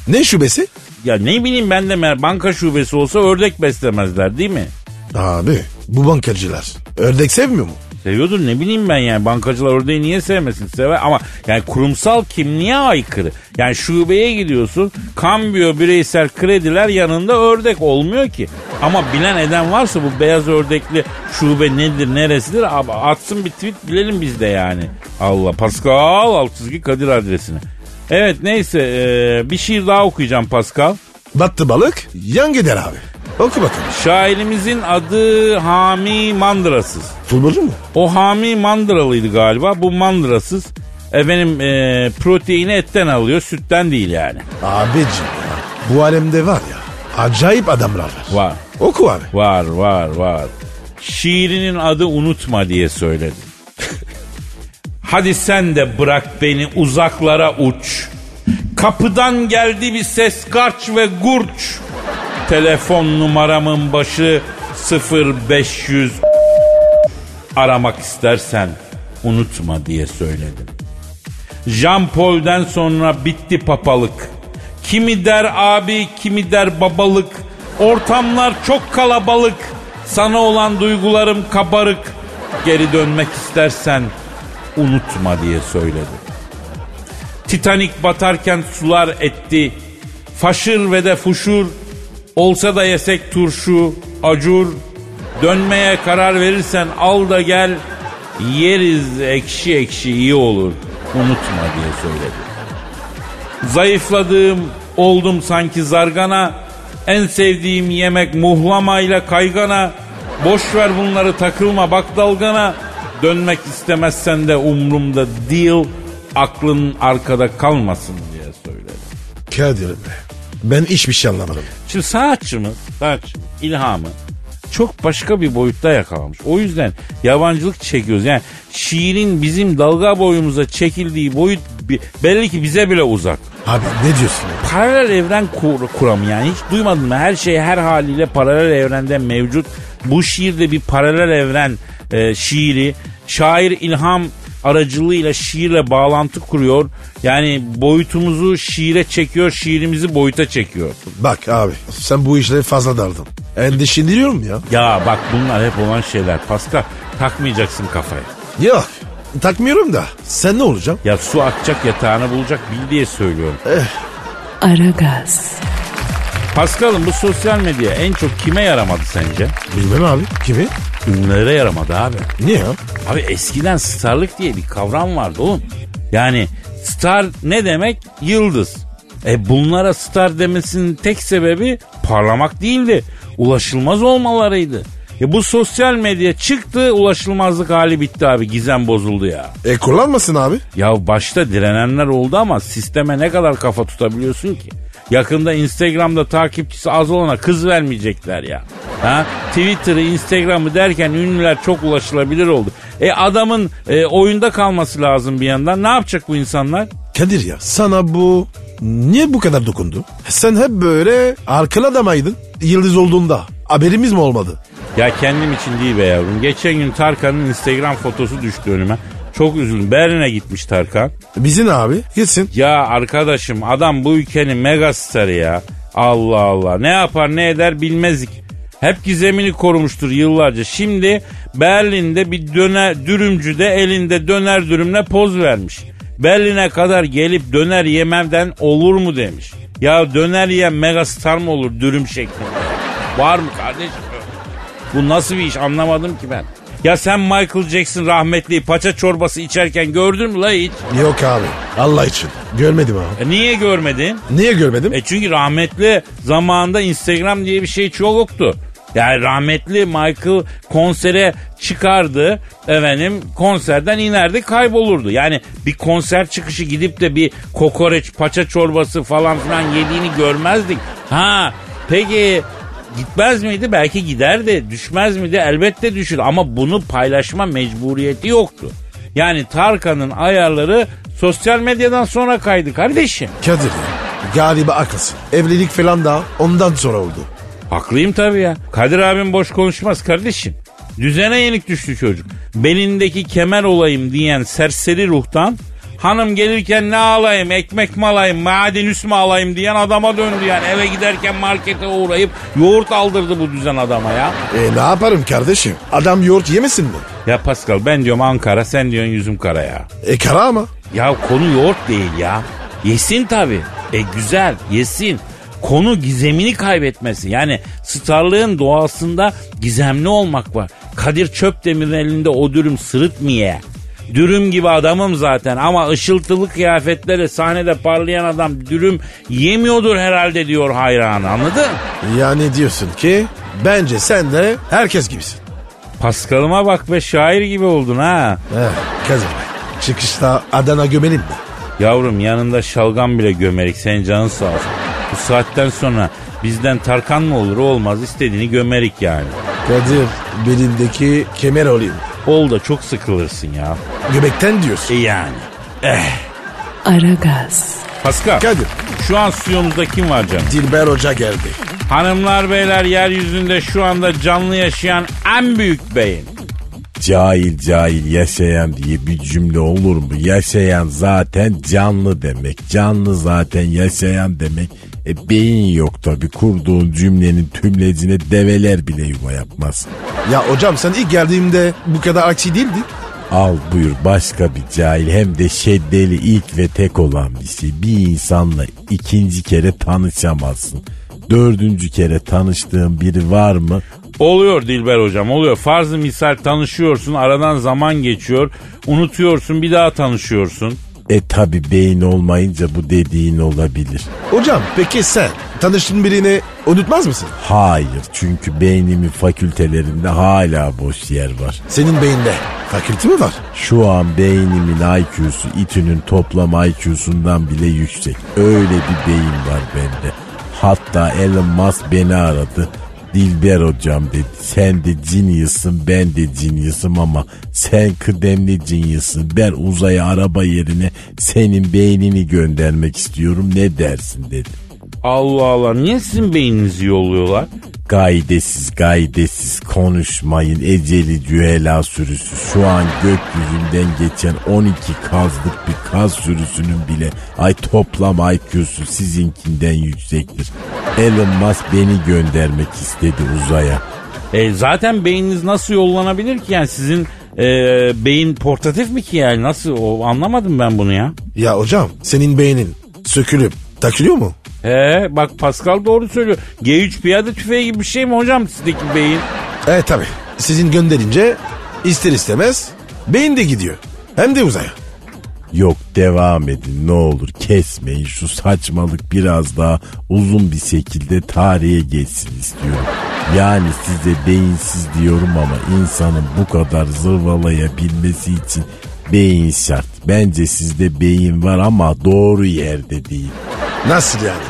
[SPEAKER 3] Ne şubesi?
[SPEAKER 4] Ya ne bileyim ben de mer- banka şubesi olsa ördek beslemezler değil mi?
[SPEAKER 3] Abi bu bankacılar ördek sevmiyor mu?
[SPEAKER 4] Seviyordur ne bileyim ben yani bankacılar ördeği niye sevmesin sever ama yani kurumsal kimliğe aykırı. Yani şubeye gidiyorsun kambiyo bireysel krediler yanında ördek olmuyor ki. Ama bilen eden varsa bu beyaz ördekli şube nedir neresidir abi atsın bir tweet bilelim biz de yani. Allah Pascal alt çizgi Kadir adresini. Evet neyse eee, bir şiir daha okuyacağım Pascal.
[SPEAKER 3] Battı balık yan gider abi. Oku bakalım.
[SPEAKER 4] Şairimizin adı Hami Mandırasız.
[SPEAKER 3] Tulbacı mı?
[SPEAKER 4] O hami mandıralıydı galiba. Bu mandırasız. Efendim e, proteini etten alıyor. Sütten değil yani.
[SPEAKER 3] Abicim ya, bu alemde var ya acayip adamlar var.
[SPEAKER 4] Var.
[SPEAKER 3] Oku abi.
[SPEAKER 4] Var var var. Şiirinin adı unutma diye söyledi. Hadi sen de bırak beni uzaklara uç. Kapıdan geldi bir ses garç ve gurç. Telefon numaramın başı 0500 aramak istersen unutma diye söyledim. Jean Paul'den sonra bitti papalık. Kimi der abi, kimi der babalık. Ortamlar çok kalabalık. Sana olan duygularım kabarık. Geri dönmek istersen unutma diye söyledi. Titanik batarken sular etti. Faşır ve de fuşur. Olsa da yesek turşu, acur. Dönmeye karar verirsen al da gel. Yeriz ekşi ekşi iyi olur. Unutma diye söyledi. Zayıfladığım oldum sanki zargana. En sevdiğim yemek muhlamayla kaygana. Boş ver bunları takılma bak dalgana. Dönmek istemezsen de umrumda değil. Aklın arkada kalmasın diye söyledi.
[SPEAKER 3] Kadir be. Ben hiçbir şey anlamadım.
[SPEAKER 4] Şimdi sanatçımız, sanatçımız ilhamı çok başka bir boyutta yakalamış. O yüzden yabancılık çekiyoruz. Yani şiirin bizim dalga boyumuza çekildiği boyut bi- belli ki bize bile uzak.
[SPEAKER 3] Abi ne diyorsun ya?
[SPEAKER 4] Paralel evren kur, kuramı yani hiç duymadın mı? Her şey her haliyle paralel evrende mevcut. Bu şiirde bir paralel evren e, şiiri. Şair ilham aracılığıyla şiirle bağlantı kuruyor. Yani boyutumuzu şiire çekiyor, şiirimizi boyuta çekiyor.
[SPEAKER 3] Bak abi sen bu işleri fazla daldın. Endişeleniyorum ya.
[SPEAKER 4] Ya bak bunlar hep olan şeyler. Pascal takmayacaksın kafaya.
[SPEAKER 3] Yok takmıyorum da sen ne olacaksın?
[SPEAKER 4] Ya su akacak yatağını bulacak bil diye söylüyorum.
[SPEAKER 1] Aragaz,
[SPEAKER 4] Pascal'ın bu sosyal medya en çok kime yaramadı sence?
[SPEAKER 3] Bilmem abi. Kimi?
[SPEAKER 4] Ünlülere yaramadı abi.
[SPEAKER 3] Niye ya?
[SPEAKER 4] Abi eskiden starlık diye bir kavram vardı oğlum. Yani star ne demek? Yıldız. E bunlara star demesinin tek sebebi parlamak değildi. Ulaşılmaz olmalarıydı. E bu sosyal medya çıktı ulaşılmazlık hali bitti abi gizem bozuldu ya.
[SPEAKER 3] E kullanmasın abi.
[SPEAKER 4] Ya başta direnenler oldu ama sisteme ne kadar kafa tutabiliyorsun ki? Yakında Instagram'da takipçisi az olana kız vermeyecekler ya. Ha? Twitter'ı, Instagram'ı derken ünlüler çok ulaşılabilir oldu. E adamın e, oyunda kalması lazım bir yandan. Ne yapacak bu insanlar?
[SPEAKER 3] Kadir ya sana bu niye bu kadar dokundu? Sen hep böyle arkalı adamaydın yıldız olduğunda. Haberimiz mi olmadı?
[SPEAKER 4] Ya kendim için değil be yavrum. Geçen gün Tarkan'ın Instagram fotosu düştü önüme. Çok üzüldüm. Berlin'e gitmiş Tarkan.
[SPEAKER 3] Bizi ne abi? Gitsin.
[SPEAKER 4] Ya arkadaşım adam bu ülkenin megastarı ya. Allah Allah. Ne yapar ne eder bilmezdik. Hep gizemini korumuştur yıllarca. Şimdi Berlin'de bir döner dürümcüde elinde döner dürümle poz vermiş. Berlin'e kadar gelip döner yememden olur mu demiş. Ya döner yiyen megastar mı olur dürüm şeklinde? Var mı kardeşim? Bu nasıl bir iş anlamadım ki ben. Ya sen Michael Jackson rahmetliyi paça çorbası içerken gördün mü la hiç?
[SPEAKER 3] Yok abi. Allah için. Görmedim abi.
[SPEAKER 4] E niye görmedin?
[SPEAKER 3] Niye görmedim?
[SPEAKER 4] E çünkü rahmetli zamanında Instagram diye bir şey çok yoktu. Yani rahmetli Michael konsere çıkardı efendim konserden inerdi kaybolurdu. Yani bir konser çıkışı gidip de bir kokoreç paça çorbası falan filan yediğini görmezdik. Ha peki gitmez miydi? Belki giderdi. Düşmez miydi? Elbette düşür ama bunu paylaşma mecburiyeti yoktu. Yani Tarkan'ın ayarları sosyal medyadan sonra kaydı kardeşim.
[SPEAKER 3] Kadir ya. Galiba haklısın. Evlilik falan da ondan sonra oldu.
[SPEAKER 4] Haklıyım tabii ya. Kadir abim boş konuşmaz kardeşim. Düzene yenik düştü çocuk. Belindeki kemer olayım diyen serseri ruhtan hanım gelirken ne alayım ekmek mi alayım maden üs mü alayım diyen adama döndü yani. Eve giderken markete uğrayıp yoğurt aldırdı bu düzen adama ya.
[SPEAKER 3] E ne yaparım kardeşim? Adam yoğurt yemesin mi?
[SPEAKER 4] Ya Pascal ben diyorum Ankara sen diyorsun yüzüm kara ya.
[SPEAKER 3] E kara ama.
[SPEAKER 4] Ya konu yoğurt değil ya. Yesin tabii. E güzel yesin. Konu gizemini kaybetmesi. Yani starlığın doğasında gizemli olmak var. Kadir Çöpdemir'in elinde o dürüm sırıtmıyor. Dürüm gibi adamım zaten ama ışıltılı kıyafetlere sahnede parlayan adam dürüm yemiyordur herhalde diyor hayranı anladın?
[SPEAKER 3] Yani diyorsun ki bence sen de herkes gibisin.
[SPEAKER 4] Paskalıma bak be şair gibi oldun ha.
[SPEAKER 5] Eh.
[SPEAKER 3] He Kadir Bey. Çıkışta Adana gömelim mi?
[SPEAKER 4] Yavrum yanında şalgam bile gömerik senin canın sağ olsun. Bu saatten sonra bizden Tarkan mı olur olmaz istediğini gömerik yani.
[SPEAKER 3] Kadir belindeki kemer olayım.
[SPEAKER 4] Ol da çok sıkılırsın ya.
[SPEAKER 3] Göbekten diyorsun.
[SPEAKER 4] E yani.
[SPEAKER 1] Aragaz.
[SPEAKER 4] Pascal.
[SPEAKER 3] Kadir.
[SPEAKER 4] Şu an stüdyomuzda kim var canım?
[SPEAKER 3] Dilber Hoca geldi.
[SPEAKER 4] Hanımlar beyler yeryüzünde şu anda canlı yaşayan en büyük beyin.
[SPEAKER 5] Cahil cahil yaşayan diye bir cümle olur mu? Yaşayan zaten canlı demek. Canlı zaten yaşayan demek. E beyin yok tabi kurduğun cümlenin tümlecine develer bile yuva yapmaz.
[SPEAKER 3] Ya hocam sen ilk geldiğimde bu kadar aksi değildin.
[SPEAKER 5] Al buyur başka bir cahil hem de şeddeli ilk ve tek olan bir şey. Bir insanla ikinci kere tanışamazsın. Dördüncü kere tanıştığın biri var mı?
[SPEAKER 4] Oluyor Dilber hocam oluyor. Farzı misal tanışıyorsun aradan zaman geçiyor. Unutuyorsun bir daha tanışıyorsun.
[SPEAKER 5] E tabi beyin olmayınca bu dediğin olabilir.
[SPEAKER 3] Hocam peki sen tanıştığın birini unutmaz mısın?
[SPEAKER 5] Hayır çünkü beynimin fakültelerinde hala boş yer var.
[SPEAKER 3] Senin beyinde fakültü mü var?
[SPEAKER 5] Şu an beynimin IQ'su itünün toplam IQ'sundan bile yüksek. Öyle bir beyin var bende. Hatta Elon Musk beni aradı. Dilber hocam dedi sen de genius'ın ben de genius'ım ama sen kıdemli genius'ın ben uzaya araba yerine senin beynini göndermek istiyorum ne dersin dedi.
[SPEAKER 4] Allah Allah niye sizin beyninizi yolluyorlar?
[SPEAKER 5] Gaydesiz gaydesiz konuşmayın eceli cühela sürüsü şu an gökyüzünden geçen 12 kazlık bir kaz sürüsünün bile ay toplam IQ'su sizinkinden yüksektir. Elon Musk beni göndermek istedi uzaya.
[SPEAKER 4] E, zaten beyniniz nasıl yollanabilir ki yani sizin e, beyin portatif mi ki yani nasıl o, anlamadım ben bunu ya.
[SPEAKER 3] Ya hocam senin beynin sökülüp takılıyor mu?
[SPEAKER 4] He E, bak Pascal doğru söylüyor. G3 piyade tüfeği gibi bir şey mi hocam sizdeki beyin?
[SPEAKER 3] Evet tabi. E, Sizin gönderince ister istemez beyin de gidiyor. Hem de uzaya.
[SPEAKER 5] Yok devam edin ne olur kesmeyin şu saçmalık biraz daha uzun bir şekilde tarihe geçsin istiyorum. Yani size beyinsiz diyorum ama insanın bu kadar zırvalayabilmesi için beyin şart. Bence sizde beyin var ama doğru yerde değil.
[SPEAKER 3] Nasıl yani?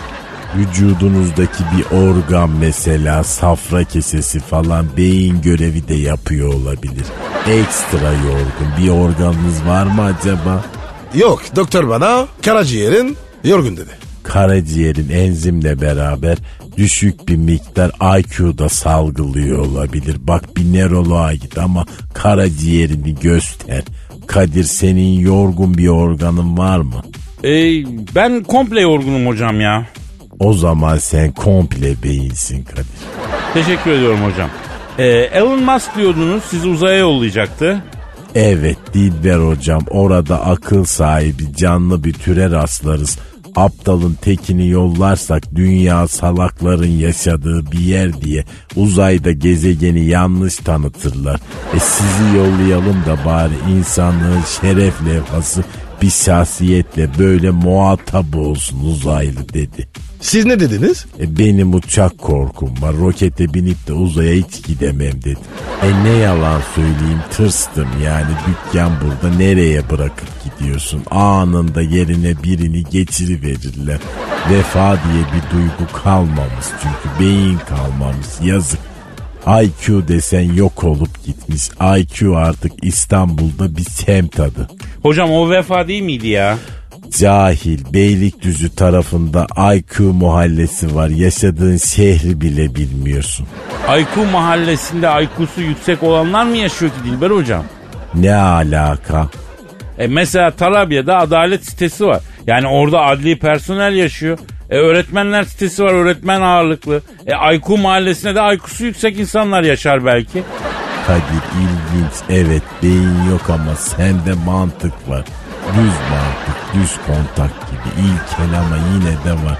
[SPEAKER 5] Vücudunuzdaki bir organ mesela safra kesesi falan beyin görevi de yapıyor olabilir. Ekstra yorgun bir organınız var mı acaba?
[SPEAKER 3] Yok doktor bana karaciğerin yorgun dedi.
[SPEAKER 5] karaciğerin enzimle beraber düşük bir miktar IQ'da salgılıyor olabilir. Bak bir nöroloğa git ama karaciğerini göster. Kadir senin yorgun bir organın var mı?
[SPEAKER 4] E, ben komple yorgunum hocam ya.
[SPEAKER 5] O zaman sen komple beyinsin Kadir.
[SPEAKER 4] Teşekkür ediyorum hocam. Ee, Elon Musk diyordunuz sizi uzaya yollayacaktı.
[SPEAKER 5] Evet Dilber hocam orada akıl sahibi canlı bir türe rastlarız. Aptalın tekini yollarsak dünya salakların yaşadığı bir yer diye uzayda gezegeni yanlış tanıtırlar. E sizi yollayalım da bari insanlığın şeref levhası bir şahsiyetle böyle muhatap olsun uzaylı dedi.
[SPEAKER 3] Siz ne dediniz?
[SPEAKER 5] E benim uçak korkum var. Rokete binip de uzaya hiç gidemem dedi. E ne yalan söyleyeyim tırstım yani dükkan burada nereye bırakıp gidiyorsun? Anında yerine birini geçiriverirler. Vefa diye bir duygu kalmamış çünkü beyin kalmamış yazık. IQ desen yok olup gitmiş. IQ artık İstanbul'da bir semt adı.
[SPEAKER 4] Hocam o vefa değil miydi ya?
[SPEAKER 5] Cahil Beylikdüzü tarafında IQ muhallesi var. Yaşadığın şehri bile bilmiyorsun.
[SPEAKER 4] Ayku mahallesinde IQ'su yüksek olanlar mı yaşıyor ki Dilber hocam?
[SPEAKER 5] Ne alaka?
[SPEAKER 4] E mesela Tarabya'da adalet sitesi var. Yani orada adli personel yaşıyor. E öğretmenler sitesi var öğretmen ağırlıklı. E Ayku mahallesinde de Ayku'su yüksek insanlar yaşar belki.
[SPEAKER 5] Kadir ilginç. Evet beyin yok ama sende mantık var. Düz mantık, düz kontak gibi ilkel ama yine de var.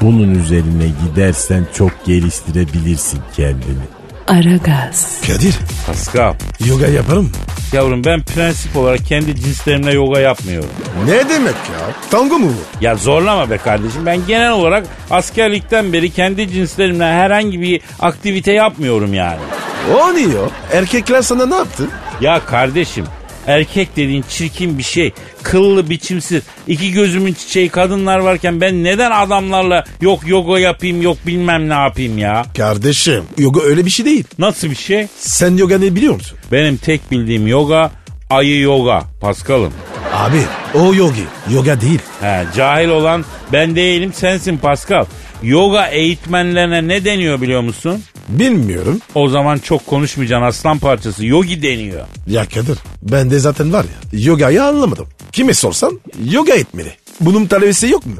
[SPEAKER 5] Bunun üzerine gidersen çok geliştirebilirsin kendini.
[SPEAKER 1] Aragaz,
[SPEAKER 3] Kadir
[SPEAKER 4] Pascal.
[SPEAKER 3] yoga yaparım.
[SPEAKER 4] Yavrum ben prensip olarak kendi cinslerimle yoga yapmıyorum.
[SPEAKER 3] Ne demek ya? Tango mu bu?
[SPEAKER 4] Ya zorlama be kardeşim. Ben genel olarak askerlikten beri kendi cinslerimle herhangi bir aktivite yapmıyorum yani.
[SPEAKER 3] O ne ya? Erkekler sana ne yaptı?
[SPEAKER 4] Ya kardeşim erkek dediğin çirkin bir şey. Kıllı biçimsiz. iki gözümün çiçeği kadınlar varken ben neden adamlarla yok yoga yapayım yok bilmem ne yapayım ya.
[SPEAKER 3] Kardeşim yoga öyle bir şey değil.
[SPEAKER 4] Nasıl bir şey?
[SPEAKER 3] Sen yoga ne biliyor musun?
[SPEAKER 4] Benim tek bildiğim yoga ayı yoga. Paskal'ım.
[SPEAKER 3] Abi o yogi. Yoga değil.
[SPEAKER 4] He, cahil olan ben değilim sensin Paskal. Yoga eğitmenlerine ne deniyor biliyor musun?
[SPEAKER 3] Bilmiyorum.
[SPEAKER 4] O zaman çok konuşmayacaksın aslan parçası. Yogi deniyor.
[SPEAKER 3] Ya Kadir ben de zaten var ya yogayı anlamadım. Kime sorsan yoga etmeli. Bunun talebesi yok mu?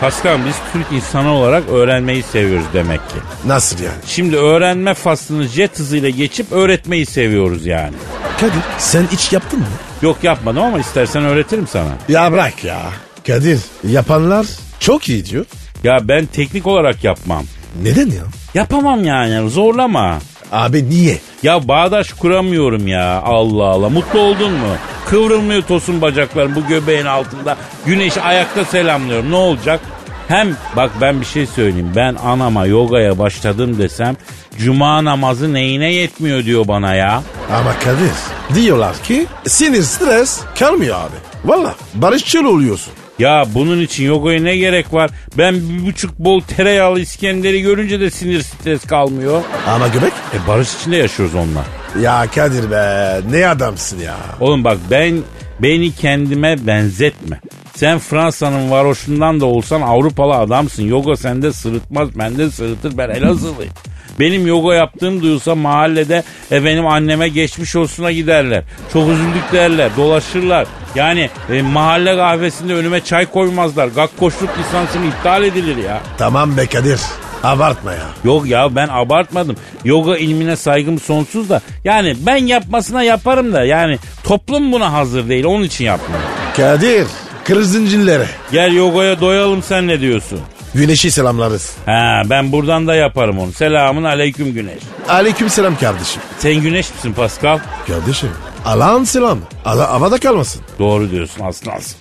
[SPEAKER 4] Paskal biz Türk insanı olarak öğrenmeyi seviyoruz demek ki.
[SPEAKER 3] Nasıl yani?
[SPEAKER 4] Şimdi öğrenme faslını jet hızıyla geçip öğretmeyi seviyoruz yani.
[SPEAKER 3] Kadir sen hiç yaptın mı?
[SPEAKER 4] Yok yapmadım ama istersen öğretirim sana.
[SPEAKER 3] Ya bırak ya. Kadir yapanlar çok iyi diyor.
[SPEAKER 4] Ya ben teknik olarak yapmam.
[SPEAKER 3] Neden ya?
[SPEAKER 4] Yapamam yani zorlama.
[SPEAKER 3] Abi niye?
[SPEAKER 4] Ya bağdaş kuramıyorum ya Allah Allah. Mutlu oldun mu? Kıvrılmıyor tosun bacakların bu göbeğin altında. Güneş ayakta selamlıyorum ne olacak? Hem bak ben bir şey söyleyeyim. Ben anama yogaya başladım desem cuma namazı neyine yetmiyor diyor bana ya.
[SPEAKER 3] Ama Kadir diyorlar ki sinir stres kalmıyor abi. Valla barışçıl oluyorsun.
[SPEAKER 4] Ya bunun için yogaya ne gerek var? Ben bir buçuk bol tereyağlı İskender'i görünce de sinir stres kalmıyor.
[SPEAKER 3] Ama göbek?
[SPEAKER 4] E barış içinde yaşıyoruz onlar.
[SPEAKER 3] Ya Kadir be ne adamsın ya.
[SPEAKER 4] Oğlum bak ben beni kendime benzetme. Sen Fransa'nın varoşundan da olsan Avrupalı adamsın. Yoga sende sırıtmaz, bende sırıtır. Ben Elazığlıyım. Benim yoga yaptığım duyulsa mahallede e, benim anneme geçmiş olsuna giderler. Çok üzüldük derler, dolaşırlar. Yani e, mahalle kahvesinde önüme çay koymazlar. Gakkoşluk lisansım iptal edilir ya.
[SPEAKER 3] Tamam be Kadir abartma ya.
[SPEAKER 4] Yok ya ben abartmadım. Yoga ilmine saygım sonsuz da. Yani ben yapmasına yaparım da. Yani toplum buna hazır değil. Onun için yapmıyorum.
[SPEAKER 3] Kadir kır zincirleri.
[SPEAKER 4] Gel yogaya doyalım sen ne diyorsun?
[SPEAKER 3] Güneşi selamlarız.
[SPEAKER 4] Ha ben buradan da yaparım onu. Selamun aleyküm güneş.
[SPEAKER 3] Aleyküm selam kardeşim.
[SPEAKER 4] Sen güneş misin Pascal?
[SPEAKER 3] Kardeşim Allah'ın selam. Allah havada kalmasın.
[SPEAKER 4] Doğru diyorsun aslansın.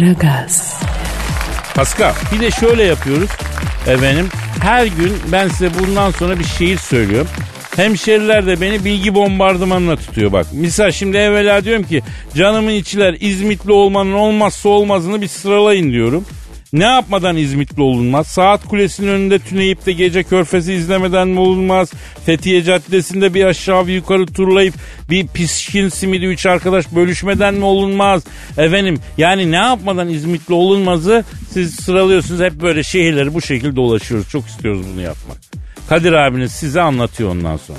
[SPEAKER 1] Aragaz,
[SPEAKER 4] Pascal bir de şöyle yapıyoruz. Efendim her gün ben size bundan sonra bir şiir söylüyorum. Hemşeriler de beni bilgi bombardımanına tutuyor bak. Misal şimdi evvela diyorum ki canımın içiler İzmitli olmanın olmazsa olmazını bir sıralayın diyorum. Ne yapmadan İzmitli olunmaz? Saat Kulesi'nin önünde tüneyip de gece körfezi izlemeden mi olunmaz? Fethiye Caddesi'nde bir aşağı bir yukarı turlayıp bir pişkin simidi üç arkadaş bölüşmeden mi olunmaz? Efendim yani ne yapmadan İzmitli olunmazı siz sıralıyorsunuz hep böyle şehirleri bu şekilde dolaşıyoruz. Çok istiyoruz bunu yapmak. Kadir abiniz size anlatıyor ondan sonra.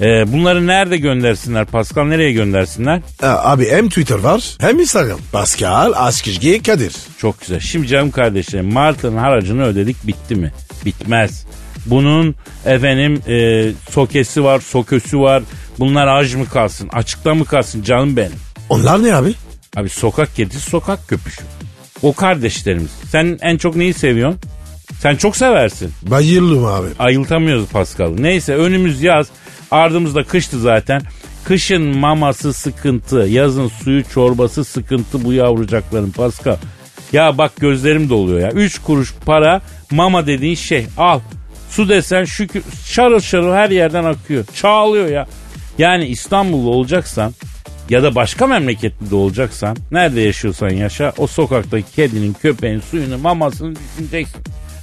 [SPEAKER 4] Ee, bunları nerede göndersinler? Pascal nereye göndersinler?
[SPEAKER 3] Ha, abi hem Twitter var hem Instagram. Pascal Askizgi Kadir.
[SPEAKER 4] Çok güzel. Şimdi canım kardeşlerim Martı'nın haracını ödedik bitti mi? Bitmez. Bunun efendim e, sokesi var, sokösü var. Bunlar aj mı kalsın, açıkta mı kalsın canım benim?
[SPEAKER 3] Onlar ne abi?
[SPEAKER 4] Abi sokak kedisi, sokak köpüşü. O kardeşlerimiz. Sen en çok neyi seviyorsun? Sen çok seversin.
[SPEAKER 3] Bayıldım abi.
[SPEAKER 4] Ayıltamıyoruz Paskal'ı. Neyse önümüz yaz. Ardımızda kıştı zaten. Kışın maması sıkıntı. Yazın suyu çorbası sıkıntı bu yavrucakların Paskal. Ya bak gözlerim doluyor ya. Üç kuruş para mama dediğin şey. Al. Su desen şükür şarıl şarıl her yerden akıyor. Çağlıyor ya. Yani İstanbullu olacaksan ya da başka memleketli de olacaksan nerede yaşıyorsan yaşa o sokaktaki kedinin köpeğin suyunu mamasını düşüneceksin.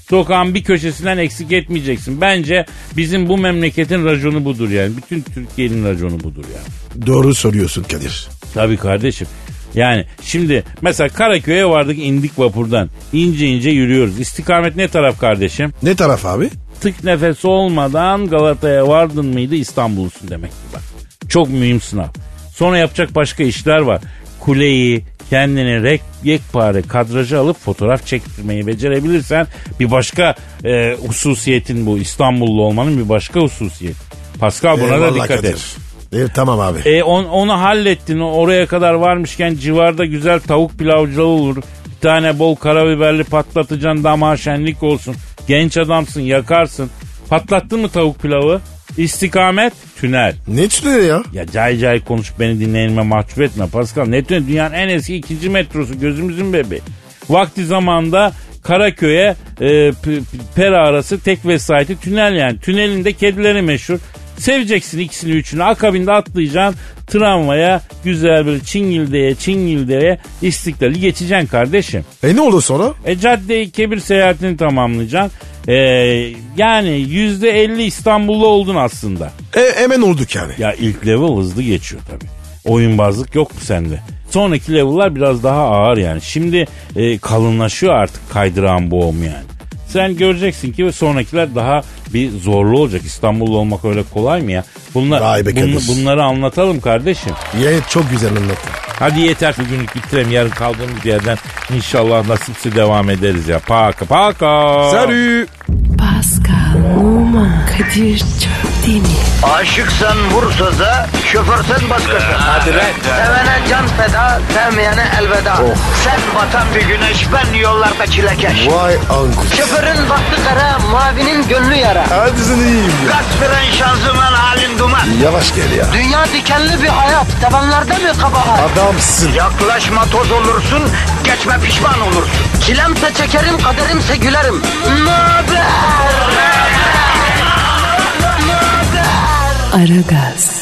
[SPEAKER 4] Sokağın bir köşesinden eksik etmeyeceksin. Bence bizim bu memleketin raconu budur yani. Bütün Türkiye'nin raconu budur yani.
[SPEAKER 3] Doğru soruyorsun Kadir.
[SPEAKER 4] Tabii kardeşim. Yani şimdi mesela Karaköy'e vardık indik vapurdan. İnce ince yürüyoruz. İstikamet ne taraf kardeşim?
[SPEAKER 3] Ne taraf abi?
[SPEAKER 4] Tık nefes olmadan Galata'ya vardın mıydı İstanbul'sun demektir bak. Çok mühim sınav. Sonra yapacak başka işler var. Kuleyi kendini rek, yekpare kadraja alıp fotoğraf çektirmeyi becerebilirsen bir başka e, hususiyetin bu. İstanbullu olmanın bir başka hususiyeti. Pascal buna da
[SPEAKER 3] Eyvallah
[SPEAKER 4] dikkat
[SPEAKER 3] Kadir.
[SPEAKER 4] et.
[SPEAKER 3] E, tamam abi.
[SPEAKER 4] E, on- onu hallettin oraya kadar varmışken civarda güzel tavuk pilavcılığı olur. Bir tane bol karabiberli patlatacaksın damağa şenlik olsun. Genç adamsın yakarsın. Patlattın mı tavuk pilavı? İstikamet tünel.
[SPEAKER 3] Ne tüneli ya?
[SPEAKER 4] Ya cay cay konuş beni dinleyenime mahcup etme Pascal. Ne tünel? Dünyanın en eski ikinci metrosu gözümüzün bebeği. Vakti zamanda Karaköy'e e, p- p- pera arası tek vesayeti tünel yani. Tünelin de kedileri meşhur. Seveceksin ikisini üçünü. Akabinde atlayacaksın tramvaya güzel bir Çingilde'ye Çingilde'ye istiklali geçeceksin kardeşim.
[SPEAKER 3] E ne oldu sonra?
[SPEAKER 4] E cadde-i kebir seyahatini tamamlayacaksın. E, yani %50 İstanbullu oldun aslında.
[SPEAKER 3] E, hemen olduk yani.
[SPEAKER 4] Ya ilk level hızlı geçiyor tabii. Oyunbazlık yok mu sende? Sonraki level'lar biraz daha ağır yani. Şimdi e, kalınlaşıyor artık kaydırağın boğumu yani. Sen göreceksin ki sonrakiler daha bir zorlu olacak. İstanbullu olmak öyle kolay mı ya? Bunlar,
[SPEAKER 3] Vay be
[SPEAKER 4] bun-
[SPEAKER 3] Kadir.
[SPEAKER 4] bunları anlatalım kardeşim.
[SPEAKER 3] Ya, çok güzel anlattın.
[SPEAKER 4] Hadi yeter bugünlük bitirelim. Yarın kaldığımız yerden inşallah nasipse devam ederiz ya. Paka paka.
[SPEAKER 3] Salut.
[SPEAKER 1] Pascal, Oman, Kadir çok değil mi?
[SPEAKER 2] Aşıksan vursa da şoförsen başkasın. Hadi
[SPEAKER 6] lan.
[SPEAKER 2] Sevene can feda, sevmeyene elveda. Sen batan bir güneş, ben yollarda çilekeş.
[SPEAKER 3] Vay anku.
[SPEAKER 2] Şoförün baktı kara, mavinin gönlü yara.
[SPEAKER 3] Hadi sen iyiyim ya.
[SPEAKER 2] Kasperen şanzıman halin duman.
[SPEAKER 3] Yavaş gel ya.
[SPEAKER 2] Dünya dikenli bir hayat, sevenlerde mi kabahar?
[SPEAKER 3] Adamsın.
[SPEAKER 2] Yaklaşma toz olursun, geçme pişman olursun. Çilemse çekerim, kaderimse gülerim. Möber!
[SPEAKER 1] Aragaz.